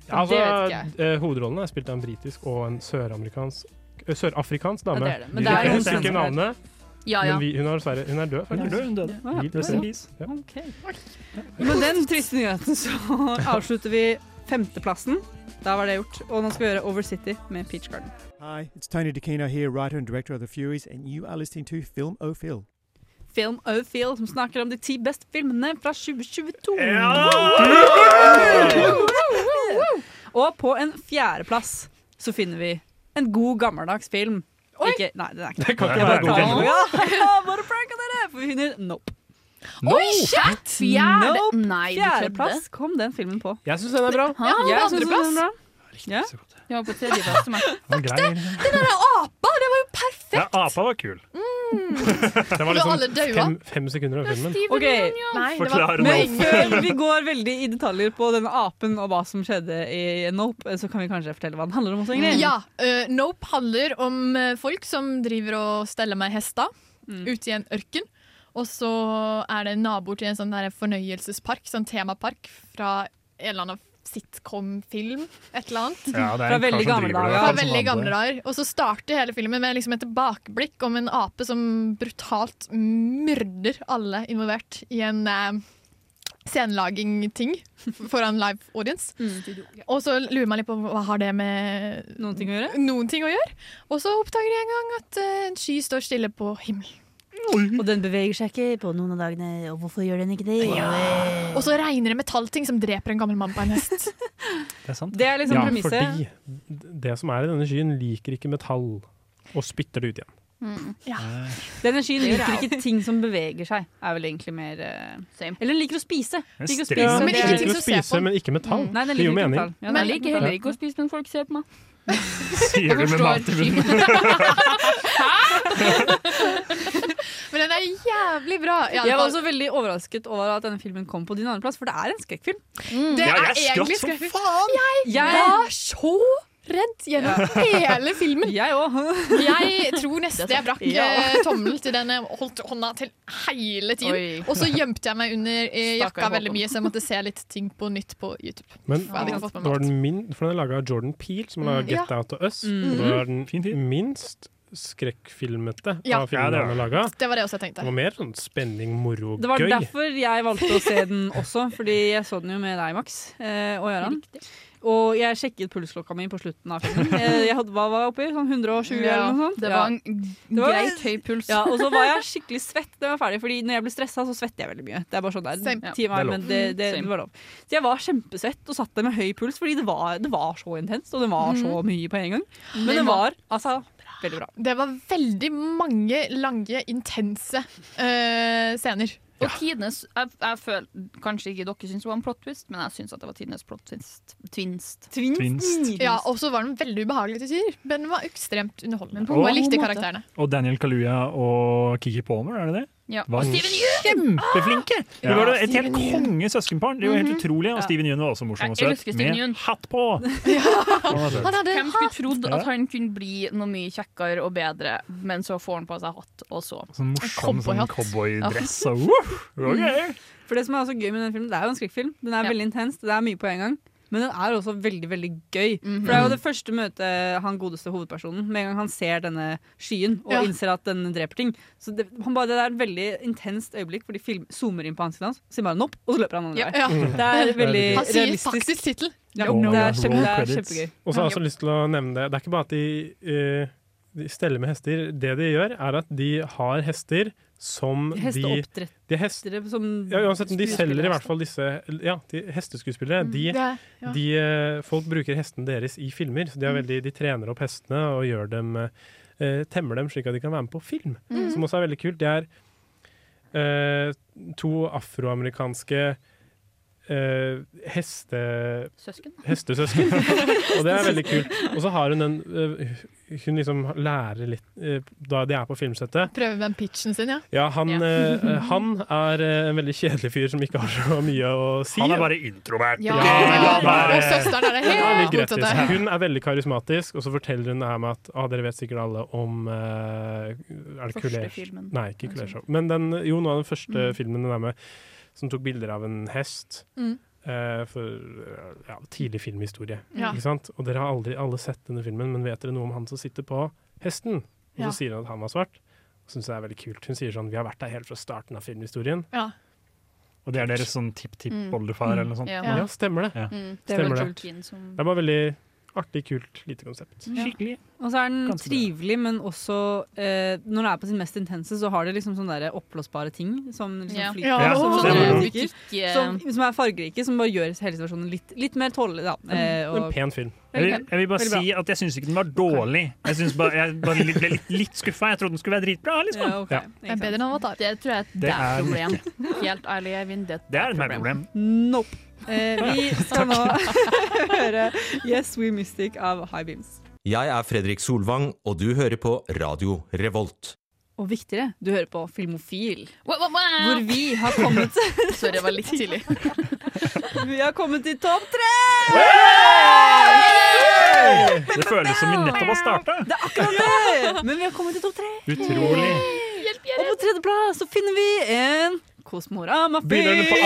Ja, det vet ikke jeg. altså, eh, hovedrollene er spilt av en britisk og en søramerikansk eh, Sørafrikansk dame. Ja, det er det. Men det er jeg noen husker ikke svensker der. navnet, Ja, ja. men vi, hun, er dessverre, hun er død, Hun er faktisk. død, hun døde. Ja, ja. Hvil i fred. Ja. Ja. Med den triste nyheten så avslutter vi femteplassen. Da var det gjort. Og nå skal vi gjøre Over City med Peach Garden. Hi, it's Tony DeCino here, writer and director of The Furies, and you are listening to Film O Phil. Film O'Feel, som snakker om de ti beste filmene fra 2022. Og på en fjerdeplass så finner vi en god, gammeldags film. Ikke, nei, den er ikke Det kan ikke Jeg være bare god tar den. gammeldags. Ja, bare pranka dere! For vi finner Nope. Oi, shit! Fjerde- Nope. Nei, du kødder. Fjerdeplass kom den filmen på. Jeg syns den er bra. Ja, den Jeg var synes den andreplass. er bra. Ja. Jeg var på tredjeplass til meg. Den der apa! Det var jo perfekt! Ja, apa var kul. Det var Når alle liksom daua. fem, fem sekunder av filmen. Ok, Forklar Men Nope. før vi går veldig i detaljer på denne apen og hva som skjedde i Nope, så kan vi kanskje fortelle hva den handler om også, Ingrid. Ja. eh, Nope handler om eh, folk som driver og steller med hester ute i en ørken. Og så er det naboer til en sånn der fornøyelsespark, sånn temapark, fra en eller annen sitcom-film. Et eller annet. Ja, det er en Fra veldig kar som driver gamle det, dager. Fra han som veldig hadde gamle det. dager. Og så starter hele filmen med liksom et tilbakeblikk om en ape som brutalt myrder alle involvert i en eh, scenelaging-ting foran live audience. Og så lurer man litt på hva har det med noen ting å gjøre. Og så oppdager de en gang at eh, en sky står stille på himmelen. Mhm. Og den beveger seg ikke på noen av dagene. Og hvorfor gjør den ikke det? Og så regner det metallting som dreper en gammel mann på en hest. Det er sant. Det er liksom ja, premisset. Fordi d- det som er i denne skyen, liker ikke metall, og spytter det ut igjen. Ja. Eh, Denne skyen Det gjør liker jeg ikke ting som beveger seg. Er vel egentlig mer eh, Eller den liker å spise. Men Liker å streng. Ja, spise. men det ikke er- ting som Liker å spise, men ikke metall. Mm. Nei, den Det gir jo liker ikke mening. metall. Ja, Men den jeg liker liker heller metall. ikke å spise når folk ser på meg. Sier du med mat i munnen? Men den er jævlig bra. i alle Jeg var fall. også veldig overrasket over at denne filmen kom på din andreplass, for det er en skrekkfilm. Det Ja, jeg er skvatt egentlig som skrekkfilm. Jeg, var så redd gjennom hele filmen. Jeg òg. Jeg tror nesten jeg brakk Ja. eh, tommel til den. Jeg holdt hånda til hele tiden. Oi. Og så gjemte jeg meg under eh, jakka Stakkars veldig mye, så jeg måtte se litt ting på nytt på YouTube. Men For jeg hadde ikke fått det med meg var alt. den min, for den er laga av Jordan Peele, som har Mm. laga Get Ja. Out og Us. Mm. Det var den minst skrekkfilmete Ja. av filmene Ja, han har det laga. Det var det også jeg Det var tenkte. mer sånn spenning, moro og Det var gøy. derfor jeg valgte å se den også, fordi jeg så den jo med deg, Max, eh, og Gøran. Og jeg sjekket pulsklokka mi på slutten av filmen. Eh, Jeg hadde, hva var jeg oppi? Sånn 120 Ja, eller noe sånt? det var en g- Det var- greit høy puls. Ja, og så var jeg skikkelig svett da jeg var ferdig, Fordi når jeg ble stressa, så svetter jeg veldig mye. Det er bare sånn der, Same. ti Ja. meg, Det er lov. men det, det, Same. det var lov. Så jeg var kjempesvett og satt der med høy puls, fordi det var, det var så intenst, og det var Mhm. så mye på en gang. Men det var altså veldig bra. Det var veldig mange lange, intense eh, scener. Og tidenes jeg, jeg føler Kanskje ikke dere syns det var en plot twist, men jeg syns at det var tidenes plot twist. Twinst. Twinst. Ja, og så var den veldig ubehagelig til tider, men den var ekstremt underholdende. på en Og jeg likte god måte. karakterene. Og Daniel Kaluuya og Kiki Palmer, er det det? Ja. Var Og Steven kjempeflinke! Ja. Det var et helt Steven Yeun. konge søskenbarn. Det var helt Mhm. utrolig. Ja. Og Steven Yeun var også morsom og Jeg søt. elsker Steven Med Yeun. hatt på! sånn Hvem skulle trodd Ja. at han kunne bli noe mye kjekkere og bedre, men så får han på seg hatt, og så Sånn morsom sånn Cowboyhatt. cowboydress Ja. og woof, ok. For det som er også gøy med den filmen, det er jo en skrekkfilm. Den er veldig intens, det er mye på en gang. Men den er også veldig veldig gøy. Mhm. For Det er jo det første møtet han godeste hovedpersonen Med en gang han ser denne skyen og Ja. innser at den dreper ting. Så Det, han bare, det er et veldig intenst øyeblikk, for de film, zoomer inn på ansiktet hans, sier bare 'nopp', og så løper han andre Ja. vei. Ja. Det er veldig Han sier Eh, realistisk. faktisk tittel. Ja, Roll- det er, kjempe, Oh roll det er credits. kjempegøy. Og så har jeg også lyst til å nevne det. Det er ikke bare at de, eh, de steller med hester. Det de gjør, er at de har hester som de Hesteoppdrettere de er hest, som ja, uansett, om de selger i skuespillere. hvert fall disse ja, de hesteskuespillere. De, det er- altså. Mm, ja. de, eh, folk bruker hestene deres i filmer. Så de, er Mm. veldig, de trener opp hestene og gjør dem, eh, temmer dem slik at de kan være med på film. Mm. Som også er veldig kult. Det er eh, to afroamerikanske eh, heste... Søsken. Hestesøsken. og det er veldig kult. Og så har hun den eh, Hun liksom lærer litt eh, da de er på filmsettet. Prøver med den pitchen sin, ja. Ja, han, eh, han er eh, en veldig kjedelig fyr som ikke har så mye å si. Han er bare introvert. Ja. la Og søsteren er det helt Ja, litt motsatte. gratis. Hun er veldig karismatisk, og så forteller hun det her med at ah, dere vet sikkert alle om eh, Er det Første Kulé? filmen. Nei, ikke Kulé Show. Men den, jo, noe av den første Mm. filmen den er med, som tok bilder av en hest. Mm. eh, for ja, tidlig filmhistorie. Ja. Ikke sant? Og dere har aldri alle sett denne filmen, men vet dere noe om han som sitter på hesten? Og Ja. så sier hun at han var svart. Og synes det er veldig kult. Hun sier sånn Vi har vært der helt fra starten av filmhistorien. Ja. Og det er deres sånn tipp-tipp-oldefar eller noe sånt. Ja, stemmer det. Ja. Mm. Det er Stemmer veldig det. kult. Det er bare veldig artig, kult, lite Mm. konsept. Ja. Og så er den Ganske bra. trivelig, men også eh, Når den er på sin mest intense, så har det liksom sånne der oppblåsbare ting som liksom Ja. flyter. Ja, Som, det sånne var det. butikker, Butikke- som, som er fargerike, som bare gjør hele situasjonen litt, litt mer tålelig. da. Eh, og- Jeg vil, jeg vil bare Veldig bra. si at jeg syns ikke den var dårlig. Jeg, synes bare, jeg bare litt- ble litt, litt skuffa. Jeg trodde den skulle være dritbra. Liksom. Ja, ok. Det er bedre enn Avatar. Det tror jeg er et Det er deg-problem. Helt ærlig, Eivind. Det er et Det er et problem. Nope. Eh, vi skal nå høre Yes We Mystic av High Beams. Jeg er Fredrik Solvang, og du hører på Radio Revolt. Og viktigere, du hører på Filmofil. Wow, wow, wow. Hvor vi har kommet Sorry, det var litt tidlig. Vi har kommet til topp tre! Det føles som vi nettopp har starta. Det er akkurat det! Men vi har kommet til topp tre. Utrolig. Og på tredjeplass så finner vi en Kosmorama-film. Begynner den på A?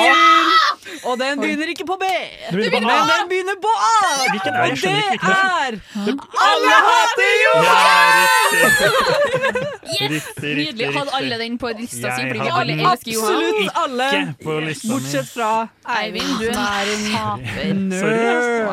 Og den begynner ikke på B, Du begynner på men A. den begynner på A! Hvilken er det? Og Jeg det skjønner ikke er hvilken det Alle hater Johan! Riktig, Nydelig. Hadde alle den på lista si, Jeg fordi vi hadde alle den elsker Johan. Absolutt alle, Ikke sånn. på lista mi. bortsett fra Eivind. Du er en taper. Sorry, ass. Wow.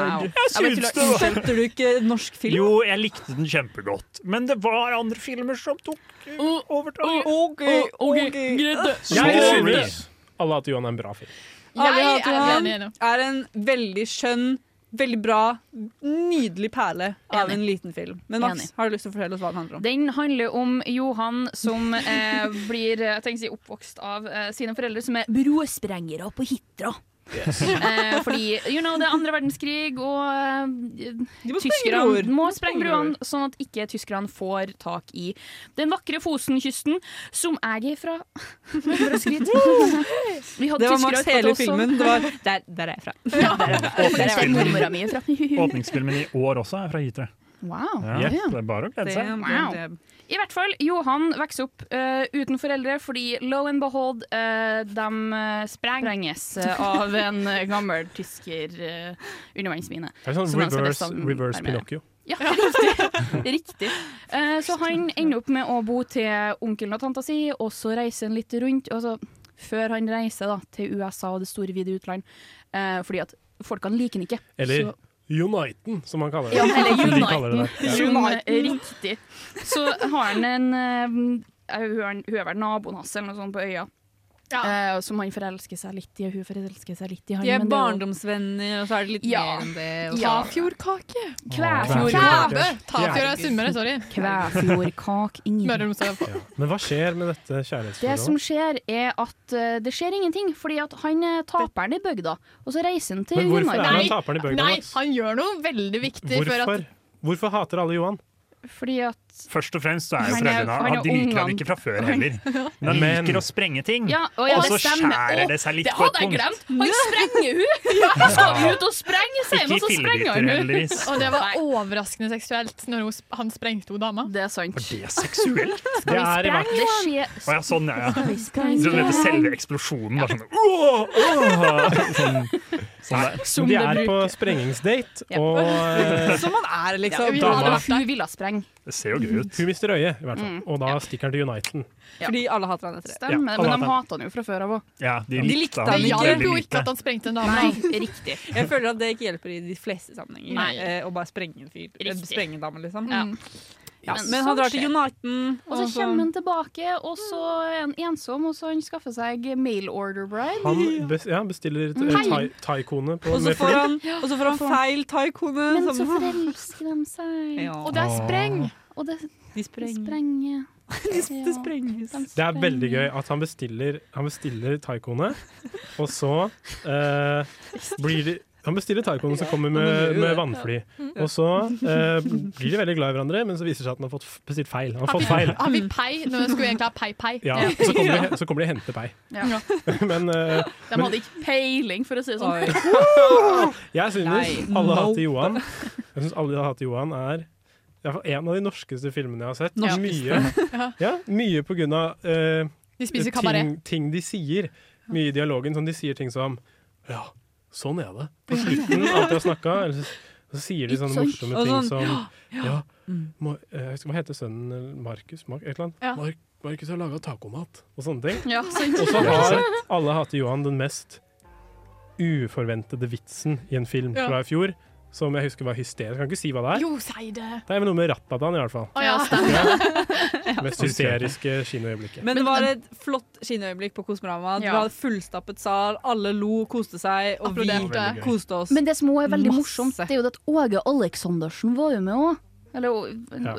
Jeg Ja, men syns tulla- det var- Skjønte du ikke norsk film? Jo, jeg likte den kjempegodt, men det var andre filmer som tok Oh, eh, overtaket. OK, OK. Jeg Så- synes alle hater Johan er en bra film. Alle Jeg hater er Johan enig i det. er en veldig skjønn, veldig bra, nydelig perle av en liten film. Men Max, Enig. har du lyst til å fortelle oss hva den handler om? Den handler om Johan som eh, blir eh, jeg tenker å si, oppvokst av eh, sine foreldre, som er brosprengere på Hitra. Yes. eh, fordi you know, det er andre verdenskrig, og eh, må sprenge tyskerne broer. De må må sprenge sprenge broene, broer. sånn at ikke tyskerne får tak i den vakre Fosenkysten, som jeg er fra. For å skryte. Vi hadde Det var tyskere Max på hele oss som- filmen. Det var der, der er jeg fra. Ja, Der er jeg fra. Der er jeg fra. Åpningsfilmen mormora mi er fra. i- Åpningsfilmen i år også er fra Hitra. Wow. Ja, det er bare å glede seg. Damn, Wow. damn, damn. I hvert fall, Johan vokser opp eh, uten foreldre fordi low and behold, eh, de eh, sprenges eh, av en eh, gammel tysker eh, undervannsmine. Det er sånn Som de skal reverse, desto- reverse armere. Pinocchio. Ja, riktig. riktig. Eh, så han ender opp med å bo til onkelen og tanta si, og så reiser han litt rundt. Og så, før han reiser da, til USA og det store, vide utland, eh, fordi at folkene liker han ikke. Eller så, Uniten, som han kaller det. ja, Som eller de kaller det der. Ja. Uniten. Uniten. Riktig. Så har han en eh, Hun er- hun er vel naboen hans eller noe sånt på øya. Eh, som han forelsker seg litt i, og hun forelsker seg litt i han. De er men det jo- barndomsvenner, og så er det litt Ja. mer enn det. og så- Ja. Fjordkake. Kvæfjord. Kvæbe! Tafjord er sunnmøre, sorry. Kvæfjordkak inni Møre og Romsdal. Men hva skjer med dette Det som kjærlighetsforholdet? skjer, er at eh, det skjer ingenting, fordi at han er taperen i bygda, og så reiser han til Men hvorfor er Finnmark. han taperen i bygda? Nei, Mats? han gjør noe veldig viktig for at Hvorfor? Hvorfor hater alle Johan? Fordi at Først og fremst så er jo Han er- foreldrene han er Han de liker han ungene. ikke fra før heller. Men han Men- liker å sprenge ting, Ja, og og, ja, så det stemmer. skjærer Å, det seg litt det på et hadde jeg punkt. glemt! Han sprenger hun! Han skal ut og sprenge, sier Ikke han, og så i sprenger fillebiter, han hun. heldigvis. Og det var overraskende seksuelt når hun, sp- han sprengte hun dama. Det er sant. Det er seksuelt. Skal er vi i hvert- sprenge? Det skjer Å ja, sånn, ja. ja. Skal vi sprenge? Så dette selve eksplosjonen var sånn «Åh, åh!» Sånn, sånn der. De er på sprengingsdate, Ja. og eh, Som man er, Ja, liksom. vi hadde vært hun ville sprenge. Det ser jo gøy ut. hun mister øyet, i hvert Mm. fall. Og da stikker han til Uniten. Fordi alle hater han etter det. Stemmer, Ja, det, men alle de hater hater han jo fra før av òg. Ja, de De likte, likte han han Det ikke. hjalp veldig jo ikke lite. at han sprengte en dame. Nei, riktig. Jeg føler at det ikke hjelper i de fleste sammenhenger. Nei. eh, Å bare sprenge en fyr. eh, Riktig. Sprenge en dame, liksom. Ja. Ja, Men men han sånn drar til skjer. Uniten. Og Mm. så kommer han tilbake, og så er han ensom, og så han skaffer seg mail order bride. Han bes, ja, bestiller et- Hei. eh, thai- thaikone på Og så med får fly. han, og så får han feil taikone. Men så som- forelsker de seg, Ja. Og det er spreng! og det De sprenger. sprenger. Det sprenges. Det er veldig gøy at han bestiller, han bestiller taikone, og så eh, blir det han bestiller taikoen som kommer med, med vannfly. Og så eh, blir de veldig glad i hverandre, men så viser det seg at han har fått f- bestilt feil. Han har fått feil. Han fikk pei når han skulle egentlig ha pei-pei. Ah, Ja, og så kommer de, så kommer de og henter pei. Ja. Men eh, De hadde ikke peiling, for å si det sånn. jeg synes Nei, alle no. hater Johan Jeg synes alle hater Johan er i hvert fall en av de norskeste filmene jeg har sett. Mye, ja, mye på grunn av eh, De ting, spiser kabaret. ting de sier. Mye i dialogen. Sånn de sier ting som Ja, sånn er det. På slutten av alt de har snakka. Så, så sier de Ikke sånne sant? morsomme Og ting sånn, som ja, Ja, må, eh, hva heter sønnen? Markus? Mark, et eller annet? Ja. Mark, Markus har laga tacomat og sånne ting. Ja, sant. Og så har alle hatt Johan den mest uforventede vitsen i en film Ja. fra i fjor, som jeg husker var hysterisk. Jeg kan ikke si hva det er. Jo, si det! Det er noe med Ratatan, i hvert fall. Å ja. Mest hysteriske kinoøyeblikket. Men det var et flott kinoøyeblikk på Kosmorama. Det Ja. var fullstappet sal, alle lo, koste seg, og Applauderte. vi koste oss. Men det som også er veldig Masse. morsomt, det er jo det at Åge Aleksandersen var jo med òg. Eller o- Ja.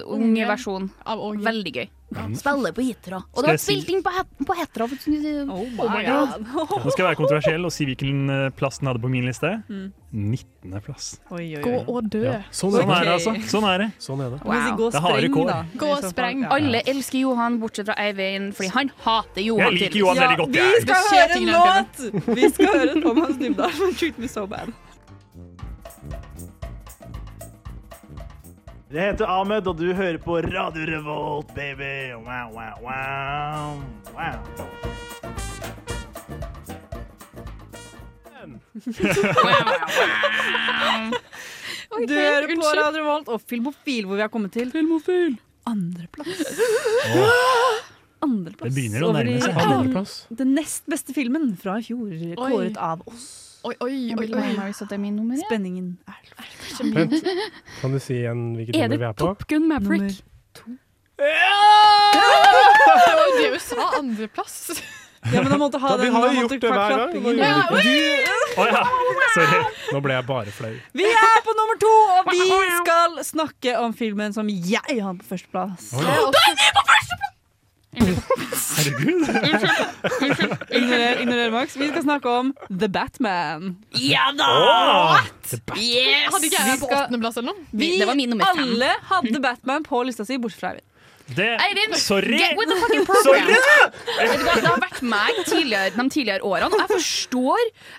unge versjon. Av Åge. Veldig gøy. Spiller på Hitra. Og Skal det jeg var spilt si- inn på, het på Hitra. for- Oh my Oh my god. god. Nå skal jeg være kontroversiell og si hvilken eh, plass den hadde på min liste. 19. plass. Mm. Oi, oi, Gå oi. og dø. Ja. Sånn Sånn er det. er det, altså. Sånn er det. Sånn er det. Du må si gå og Det er harde spreng, kår. da. Gå og I så fall, spreng. ja. Alle elsker Johan, bortsett fra Eivind, fordi han hater Jeg Johan. liker tydeligvis. Johan Sånn Ja, veldig godt, vi jeg. skal Det skjer høre ting en i den låt! Vi skal høre Thomas Dybdahl med 'Treat Me So Bad'. Jeg heter Ahmed, og du hører på Radio Revolt, baby! Wow, wow, wow. wow. du hører på Radio Volt og Filmofil, hvor vi har kommet til Filmofil. Andreplass. Andreplass. Det begynner å over i- nærme seg. Andreplass. Den nest beste filmen fra i fjor, kåret av oss. Oi, oi, oi, oi. Spenningen er Vent, kan du si igjen hvilket Er nummer det vi er på? Gun Maverick. Det var jo det hun sa. Andreplass. Ja, men da måtte ha Da, vi den, har da jo måtte gjort det hver klappingen. gang. Ja, Da Oh, gjør vi det. Å ja, sorry. Nå ble jeg bare flau. Vi er på nummer to, og vi skal snakke om filmen som jeg har på førsteplass. Oi. Og den er på Herregud. førsteplass! Ignorer, ignorer Max. Vi skal snakke om The Batman. Ja da! Yes! Hadde ikke jeg vært på åttendeplass eller noe? Vi Det var min nummer fem. alle hadde Batman på lista si, bortsett fra Eivind. Det Eirin, Sorry! get with the fucking program. Vet du hva, Det har Sorry! vært meg tidligere, de tidligere årene. og Jeg forstår,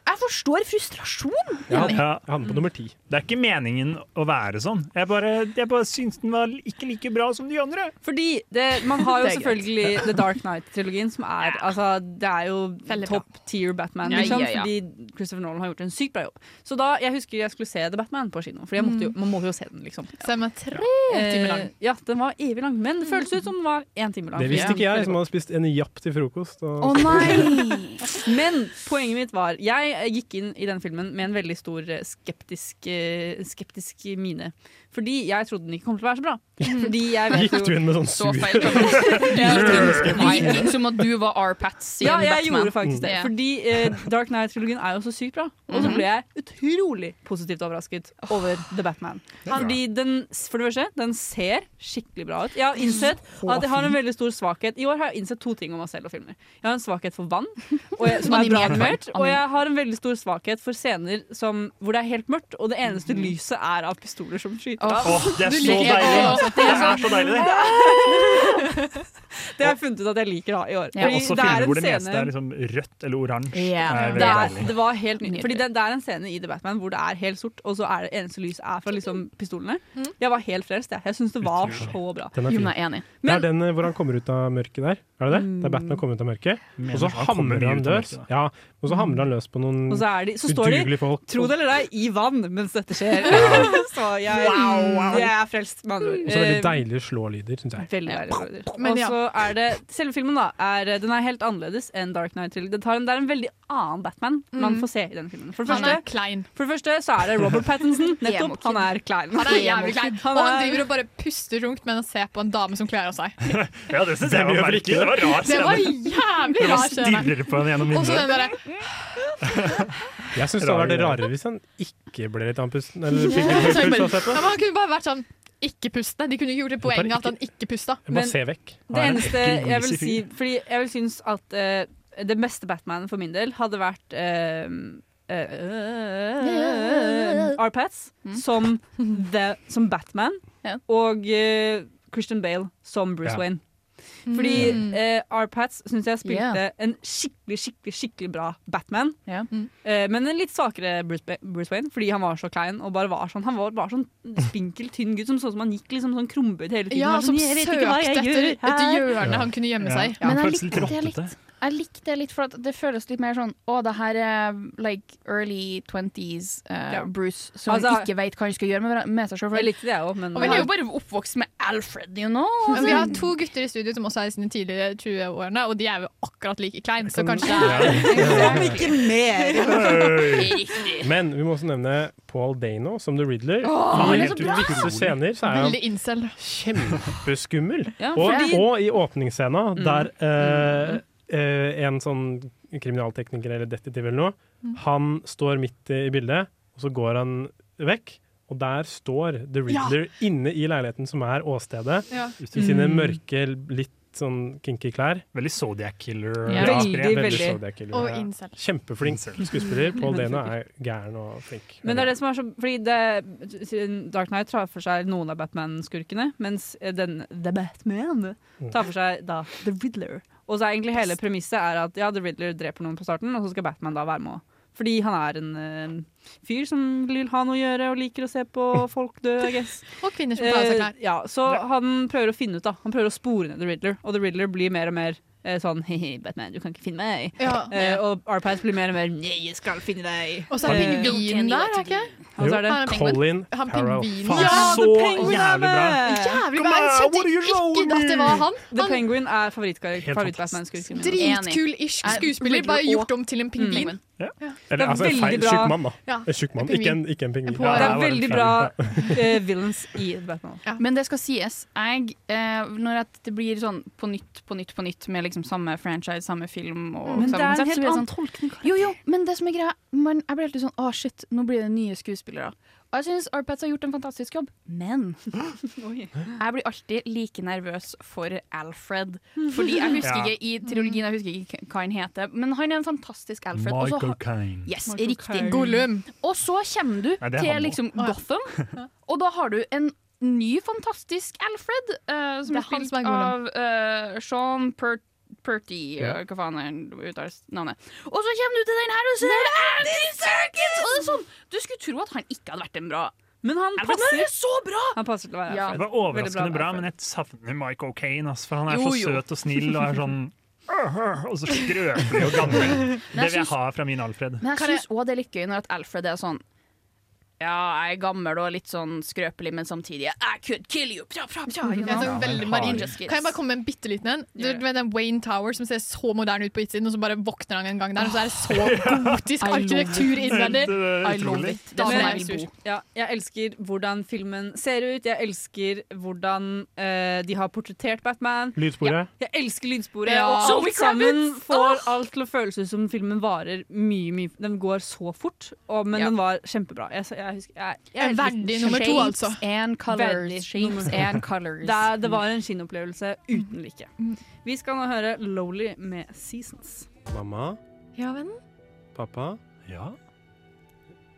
jeg forstår frustrasjon. Ja, Jenny. ja. Det er ikke meningen å være sånn. Jeg bare, jeg bare syns den var ikke like bra som de andre. Fordi det, man har jo Det er greit. selvfølgelig The Dark Knight-trilogien, som er altså, Det er jo top tier Batman, Ja, liksom, ja, ja. fordi Christopher Nolan har gjort en sykt bra jobb. Så da, jeg husker jeg skulle se The Batman på kino, for jeg måtte jo, man må jo se den, liksom. Den var tre Eh, timer lang. Ja, den var evig lang, men det føltes ut som den var én time lang. Det visste ikke jeg, liksom. som hadde spist en japp til frokost. og- Å nei! Men poenget mitt var Jeg gikk inn i den filmen med en veldig stor eh, skeptisk, eh, skeptisk mine. Fordi jeg trodde den ikke kom til å være så bra. Fordi jeg vet Gikk jo- du inn med sånn sur Du gikk inn som at du var R-Pats i Ja, en jeg Batman. gjorde faktisk det. Ja. Fordi eh, Dark Knight-trilogien er jo så sykt bra. Og Mhm. så ble jeg utrolig positivt overrasket over The Batman. er bra. Fordi den, for det første, den ser skikkelig bra ut. Jeg har innsett Så at jeg har en fin. veldig stor svakhet. I år har jeg innsett to ting om meg selv og filmer. Jeg har en svakhet for vann, og jeg, som er Animert bra vann. animert. Og Anim- jeg har en veldig stor svakhet for scener som, hvor det er helt mørkt, og det eneste Mhm. lyset er av pistoler som skyter av. Åh, det er Du så liker- deilig! Det er så deilig, det. Det har jeg funnet ut at jeg liker da i år. Det er Fordi også det er altså filmer en hvor det meste scene- er liksom rødt eller oransje. Det Ja. Det, er er, veldig det deilig. var helt nydelig. Fordi det, det er en scene i The Batman hvor det er helt sort, og så er det eneste lys er fra liksom pistolene. Mm. Jeg var helt frelst. Jeg, jeg syns det var så bra. Den er fin. enig. Det er den eh, hvor han kommer ut av mørket der. Er det det? Det er Batman kommer ut av mørket, Mener og så du han kommer hamrer han ut av løs. mørket, Ja, og så hamrer han løs på noen Og så, er de, så står de, udugelige folk. tro det eller ei, i vann mens dette skjer. Så jeg, Wow, wow. jeg er frelst, med andre ord. Og så veldig Eh, deilige slålyder, syns jeg. Veldig deilig melodier. Men Og ja. så er det Selve filmen da er, Den er helt annerledes enn Dark Knight Trilogy. Det, tar en, det er en veldig annen Batman man Mm. får se i den filmen. For det, Han er første, klein. for det første så er det Robert Pattinson. Nettopp. Han er klein. Han er jævlig klein. Han Og han er- driver og bare puster runkt mens han ser på en dame som kler av seg. Ja, det syns jeg var merkelig. Det var rar Det scene. var jævlig Når man rar scene. stirrer på henne gjennom Og så den vinduet. derre Jeg syns det hadde vært rarere hvis han ikke ble litt andpusten. Eller fikk litt Ja, puls men av å se på. Han kunne bare vært sånn ikke puste. De kunne ikke gjort det Bare poenget ikke- at han ikke pusta. Jeg Bare se vekk. Det eneste jeg vil si Fordi jeg vil synes at eh, det beste Batman for min del hadde vært eh, eh, R-Pats Mm. som, the, som Batman og eh, Christian Bale som Bruce Ja. Wayne. Fordi Mm. eh, R-Pats syns jeg spilte Yeah. en skikkelig skikkelig, skikkelig bra Batman. Eh, men en litt svakere Bruce, Ba- Bruce Wayne, fordi han var så klein og bare var sånn Han var bare sånn spinkel, tynn gutt som så ut som han gikk liksom sånn krumbøyd hele tiden. Ja, Han var som sånn, «Jeg vet ikke hva søkte jeg etter gjør et her». hjørne han kunne gjemme seg. Men jeg likte det litt. Jeg likte det litt, for at det føles litt mer sånn Å, det her er like early 20s eh, Ja. Bruce som Altså- ikke vet hva han skal gjøre med, hver- med seg sjøl. Jeg likte det, jeg òg, men Og han er jo bare oppvokst med Alfred, you know. Sånn Men vi har to gutter i studio som også er i sine tidligere 20-årene, og de er jo akkurat like kleine, så kanskje det er Om ikke mer! Hei. Men vi må også nevne Paul Dano som The Riddler. Åh, I han er så helt bra! visse scener så er han Veldig incel. kjempeskummel. Ja, og, fordi- Mm. og i åpningsscena, der eh, eh, en sånn kriminaltekniker eller detektiv eller noe, Mm. han står midt i bildet, og så går han vekk. Og der står The Riddler inne i leiligheten som er åstedet, Ja. i sine Mm. mørke, litt sånn kinky klær. Veldig Zodiac Killer. Ja. Veldig, veldig. veldig. Zodiac Killer, Og ja. incel. Kjempeflink skuespiller. Paul Dano er gæren og flink. Men det er det som er så Fordi det, siden Dark Knight tar for seg noen av Batman-skurkene, mens eh, den The Batman tar for seg da The Riddler. Og så er egentlig hele premisset er at ja, The Riddler dreper noen på starten, og så skal Batman da være med. Fordi han er en eh, fyr som vil ha noe å gjøre og liker å se på folk dø, I guess. Og kvinner som tar av seg Eh, klær. ja, så han prøver å finne ut, da. Han prøver å spore ned The Riddler, og The Riddler blir mer og mer eh, sånn he-he, Batman, du kan ikke finne meg. Ja. Eh, og Arpath blir mer og mer nei, jeg skal finne deg. Og så er Eh, pingvinen der, er ikke Og så er det Han er pingvin. Colin Han Farrell. pingvinen. Faen, Ja, så The Penguin er jævlig bra! Jævlig bra! Jeg skjønte ikke at det var han. The Penguin er Helt favoritt-Batman-skurken min. Dritkul-ish skuespiller, bare gjort om til en Mm. pingvin. Eller altså, en feil, tjukk mann, da. Ja. En tjukk mann, En pingvin. ikke en, ikke en pingvin. Det er veldig bra eh, villains i Batman. Men det skal sies. Jeg, eh, når at det blir sånn på nytt, på nytt, på nytt med liksom samme franchise, samme film og Men samme det er en konsept, helt så blir det annen sånn, Jo, jo, men det som er greia man, Jeg blir alltid sånn Å, shit, nå blir det nye skuespillere. Og jeg syns Arpats har gjort en fantastisk jobb, men jeg blir alltid like nervøs for Alfred. Fordi jeg husker Ja. ikke i trilogien jeg husker ikke hva han heter, men han er en fantastisk Alfred. og så Michael har- Caine. Yes, Michael riktig. Caine. Gollum. Og så kommer du Nei, det er til han nå. liksom Gotham, og da har du en ny, fantastisk Alfred, eh, som er Det er han spilt som er av Gollum. eh, Sean Pert Perty, eh, hva faen er det uttales navnet. Og så kommer du til den her, og så er det Andy Serkis! Og det er sånn, du skulle tro at han ikke hadde vært en bra Men han Alfred, men han er så bra! Han passer til å være Ja. Alfred. Det var overraskende bra, men jeg savner Michael Caine, ass, for han er Jo, så jo. søt og snill og er sånn «Åh, åh», og så skrøpelig og gammel. Det vil jeg synes- ha fra min Alfred. Men jeg syns òg det er litt gøy når at Alfred er sånn Ja, jeg er gammel og litt sånn skrøpelig, men samtidig I could kill you! Pra, pra, pra, you Jeg er know? sånn veldig Ja, marin. just kiss. Kan jeg bare komme med en bitte liten en? Du vet den Wayne Tower som ser så moderne ut på utsiden, og så bare våkner han en gang der, og så er det så I gotisk love it. arkitektur innvendig. Det er I love utrolig. it. Da Men- blir jeg sur. Ja, jeg elsker hvordan filmen ser ut. Jeg elsker hvordan eh, de har portrettert Batman. Lydsporet. Ja, jeg elsker lydsporet. Ja. Og Zoe alt Kravitz! sammen får alt til å føles ut som filmen varer mye, mye Den går så fort, og, men den var kjempebra. Jeg, jeg husker jeg, jeg En verdig nummer to, Shades. altså. And Veldig. Det, det var en kinoopplevelse Mm. uten like. Vi skal nå høre Lowly med Seasons. Mamma, Ja, vennen. pappa, Ja?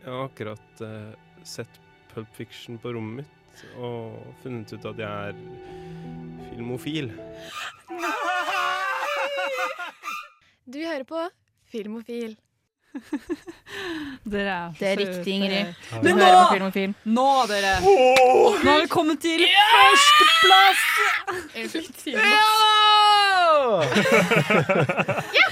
jeg har akkurat eh, sett Pulp Fiction på rommet mitt og funnet ut at jeg er filmofil. Du hører på Filmofil. Dere er Det er riktig, Ingrid. Du Men hører nå- på Filmofil. Nå, dere! Nå har vi kommet til førsteplass!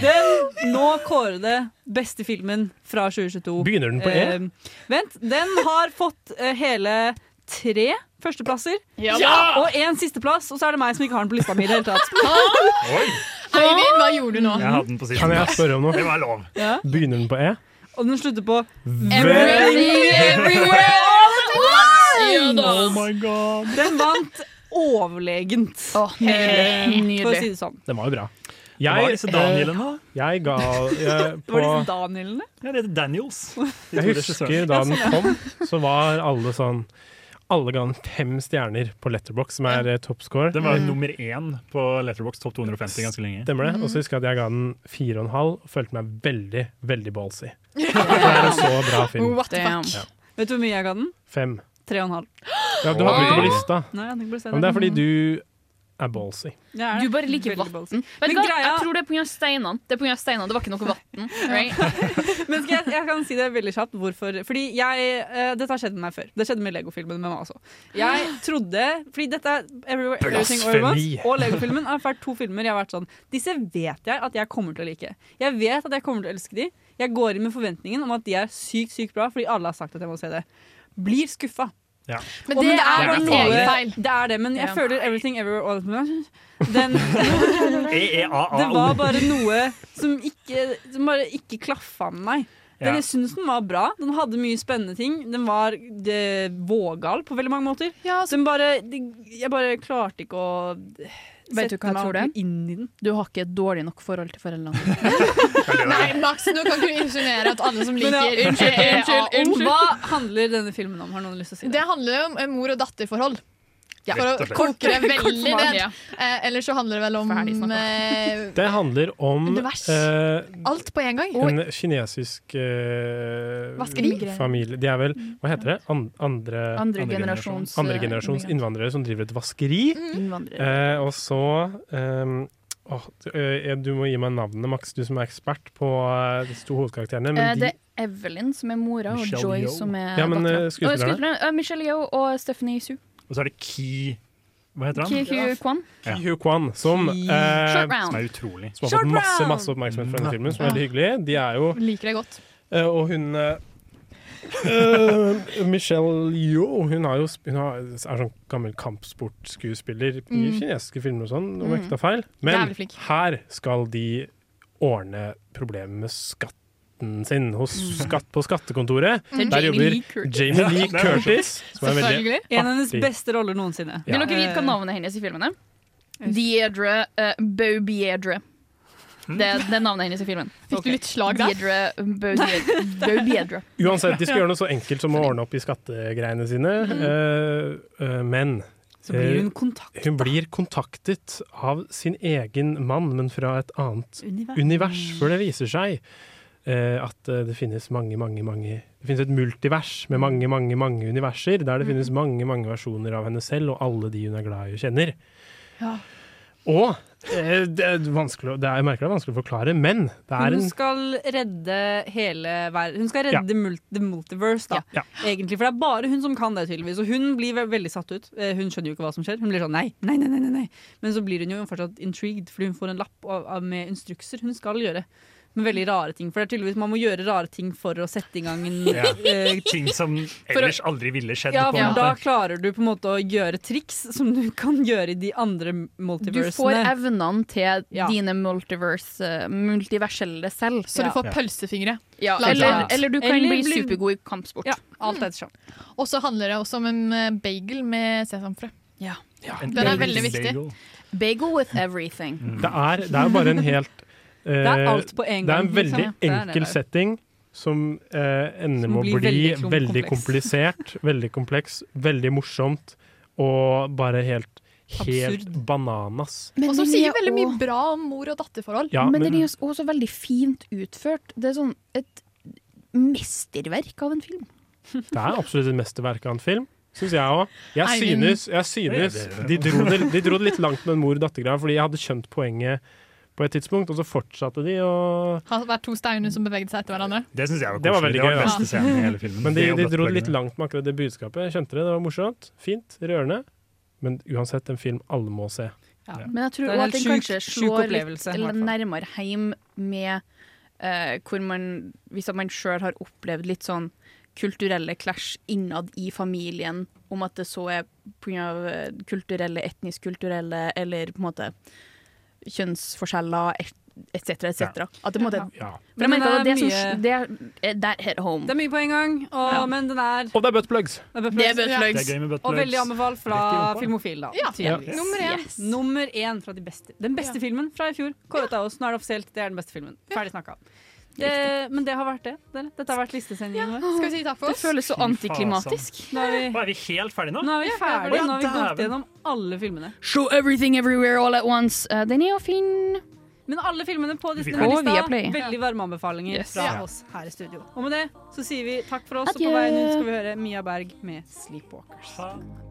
Den nå kårede beste filmen fra 2022. Begynner den på E? Eh, vent. Den har fått eh, hele tre førsteplasser. Ja! Ah! Ja! Og én sisteplass, og så er det meg som ikke har den på lista mi i det hele tatt. Eivind, hva gjorde du nå? Jeg hadde den på siden. Kan jeg spørre om noe? Det var lov. Ja. Begynner den på E? Og den slutter på Everything, everywhere, all at Ja da. once! Oh my Den vant overlegent. Eh, For å si det sånn. Den var jo bra. Det var disse eh, Danielene, da. Jeg ga jeg, Det var på, disse Danielene. Ja, det heter Daniels. De to Jeg husker regissørene. da den kom, så var alle sånn Alle ga den fem stjerner på Letterbox, som er eh, toppscore. Den var Mm. jo nummer én på Letterbox topp 250 ganske lenge. Stemmer det. Og så husker jeg at jeg ga den fire og en halv, og følte meg veldig, veldig ballsy. Ja. For Det er en så bra film. What the fuck? Ja. Vet du hvor mye jeg ga den? Fem. Tre og en halv. Ja, du hadde den ikke på lista. Nei, jeg hadde ikke på lista. Men det er fordi du er ballsy. Ja, Du bare liker vann. Vet du Men hva, greia- jeg tror det er pga. steinene. Det er på grunn av steinene, det var ikke noe vann. Right? Men skal jeg, jeg kan si det veldig kjapt hvorfor. Fordi jeg, eh, Dette har skjedd med meg før. Det skjedde med Lego-filmen med meg også. Jeg trodde Fordi dette er Everywhere, Everything All At Once Blasfemi. og Lego-filmen har vært to filmer jeg har vært sånn Disse vet jeg at jeg kommer til å like. Jeg vet at jeg kommer til å elske de. Jeg går inn med forventningen om at de er sykt, sykt bra fordi alle har sagt at jeg må se det. Blir skuffa. Ja. Men det, er bare noe Det er det, men jeg Ja. føler Everything Everywhere All At Once Den E-E-A-A-O. det var bare noe som ikke, som bare ikke klaffa med meg. Den, Ja. Jeg syns den var bra. Den hadde mye spennende ting. Den var eh, vågal på veldig mange måter. Den bare, de- jeg bare klarte ikke å Vet du hva jeg tror det er? ordentlig inn i den. Du har ikke et dårlig nok forhold til foreldrene. Nei, Max, nå kan ikke du insinuere at alle som Men liker ja, EAO Hva handler denne filmen om? Har noen lyst til å si det? Det handler jo om eh, mor- og datterforhold. Ja. For å Rett og slett. koke det Kort veldig svar. ned. Eh, Eller så handler det vel om eh, Det handler om Det vers. eh, alt på en gang. en kinesisk eh, Vaskemigrene. familie De er vel, hva heter det? Mm. An- andre, Andre generasjons- andre generasjons innvandrere som driver et vaskeri. Eh, og så eh, åh, du- eh, Du må gi meg navnene, Max, du som er ekspert på eh, disse to hovedkarakterene. Men Eh, de, Det er Evelyn som er mora, og Michelle Joy Yeoh. som Ja, er men, eh, dattera. skuespillerne? Michelle Yeoh og Stephanie Su. Og så er det Ki Hva heter han? Ki-Hu Kwan. Ja. Ki Hu Kwan, som, eh, Short round. Som er utrolig. som har Short fått masse round! masse oppmerksomhet fra Ja. denne filmen, som er veldig hyggelig. De er jo Liker det godt. eh, Og hun eh, eh, Michelle Yeoh hun, har jo, sp- hun har, er sånn gammel kampsportskuespiller i Mm. kinesiske filmer og sånn, om Mm. jeg ikke tar feil. Men Jævlig flink. her skal de ordne problemet med skatten sin hos Mm. skatt på skattekontoret. Det Mm. er Der Jamie jobber Lee Curtis. Jamie Lee Ja, det er- Curtis, som er veldig En av hennes artig. beste roller noensinne. Vil dere vite hva navnet hennes i filmen er? Deidre uh, Baubiedre. Hmm? Det er det er navnet hennes i filmen. Fikk du litt slag der? Deidre Baubiedre. Baubiedre. Uansett, de skal gjøre noe så enkelt som å ordne opp i skattegreiene sine, eh, eh, men Så blir hun eh, kontaktet. Hun blir kontaktet av sin egen mann, men fra et annet Univers. univers. for det viser seg eh, at eh, det finnes mange, mange, mange Det finnes et multivers med mange, mange, mange universer, der det finnes mange, mange versjoner av henne selv, og alle de hun er glad i og kjenner. Ja. Og eh, det er vanskelig, å- det er, jeg merker det er vanskelig å forklare, men det er Hun en skal redde hele verden. Hun skal redde Ja. the mul- the multiverse, da. Ja. Egentlig, for det er bare hun som kan det, tydeligvis. Og hun blir ve veldig satt ut. Eh, Hun skjønner jo ikke hva som skjer. Hun blir sånn nei, nei, nei, nei, nei, nei. Men så blir hun jo fortsatt intrigued, fordi hun får en lapp av, av, med instrukser hun skal gjøre. Med veldig rare ting. For det er tydeligvis man må gjøre rare ting for å sette i gang en Ja. eh, Ting som å- ellers aldri ville skjedd. på Ja, for en da måte. klarer du på en måte å gjøre triks som du kan gjøre i de andre Du får multiversene. evnene til Ja. dine multiverse, eh, multiverselle selv. Så du får pølsefingre. Ja, La oss eller, si det. eller du kan Eller bli bli- supergod i kampsport. Ja, alt ettersom. Og så handler det også om en eh, bagel med sesamfrø. Ja. En Den er bagel. veldig viktig. Bagel. Bagel Mm. with everything. Mm. Det er, det er bare en helt eh, Det er alt på en Det er gang, en veldig liksom. Det er det enkel der. setting som eh, ender Som med å blir bli veldig klum- veldig, kompleks. komplisert, veldig kompleks, veldig morsomt og bare helt, helt bananas. og som den sier er veldig mye også- bra om mor- og datterforhold. Ja, men, men- den er jo også veldig fint utført. Det er sånn et mesterverk av en film. Det er absolutt et mesterverk av en film. Syns jeg òg. Jeg Eivind. synes, jeg synes de, dro det, de dro det litt langt med den mor-datter-greia, fordi jeg hadde skjønt poenget på et tidspunkt, og så fortsatte de å Har vært to steiner som beveget seg etter hverandre. Det syns jeg var Det var koselig. veldig Det var gøy, den da. beste scenen i hele filmen. Men de, Det og de dro datterfølgene. det litt langt med akkurat det budskapet. Jeg skjønte det, det var morsomt, fint, rørende. Men uansett en film alle må se. Men jeg tror Det er også en helt at den sjuk- kanskje sjuk slår litt opplevelse, i hvert fall. nærmere hjem med eh, hvor man Hvis at man sjøl har opplevd litt sånn kulturelle clash innad i familien, om at det så er pga. eh, kulturelle, etnisk-kulturelle eller på en måte kjønnsforskjeller etc., etc. At det på en måte Ja. For jeg Men merker at det, det er som, mye- det er, eh, that hit home. Det er mye på en gang, og, Ja. men den er Og det er buttplugs! Det Det er er buttplugs. Det er gøy med Og buttplugs. veldig anbefalt fra Rett i rumpa. Filmofil. da Ja. tydeligvis. Ja. Nummer én. Yes. Nummer én fra de beste. Den beste filmen fra i fjor. Kåret av oss. Nå er det offisielt. Det er den beste filmen. Ferdig snakka. Det, men det har vært det. dere. Dette har vært listesendingen vår. Skal vi si takk for Det oss? føles så antiklimatisk. Fasan. Nå er vi, Å, er vi helt ferdige nå? nå er vi Å, ferdige. ja, Nå har vi gått dæven. gjennom alle filmene. Show everything everywhere all at once. Eh, den er jo fin. Men alle filmene på På Disney-lista. Viaplay. Veldig varme anbefalinger Yes. fra Ja. oss her i studio. Og med det så sier vi takk for oss, og Adjø. på veien ut skal vi høre Mia Berg med 'Sleepwalkers'.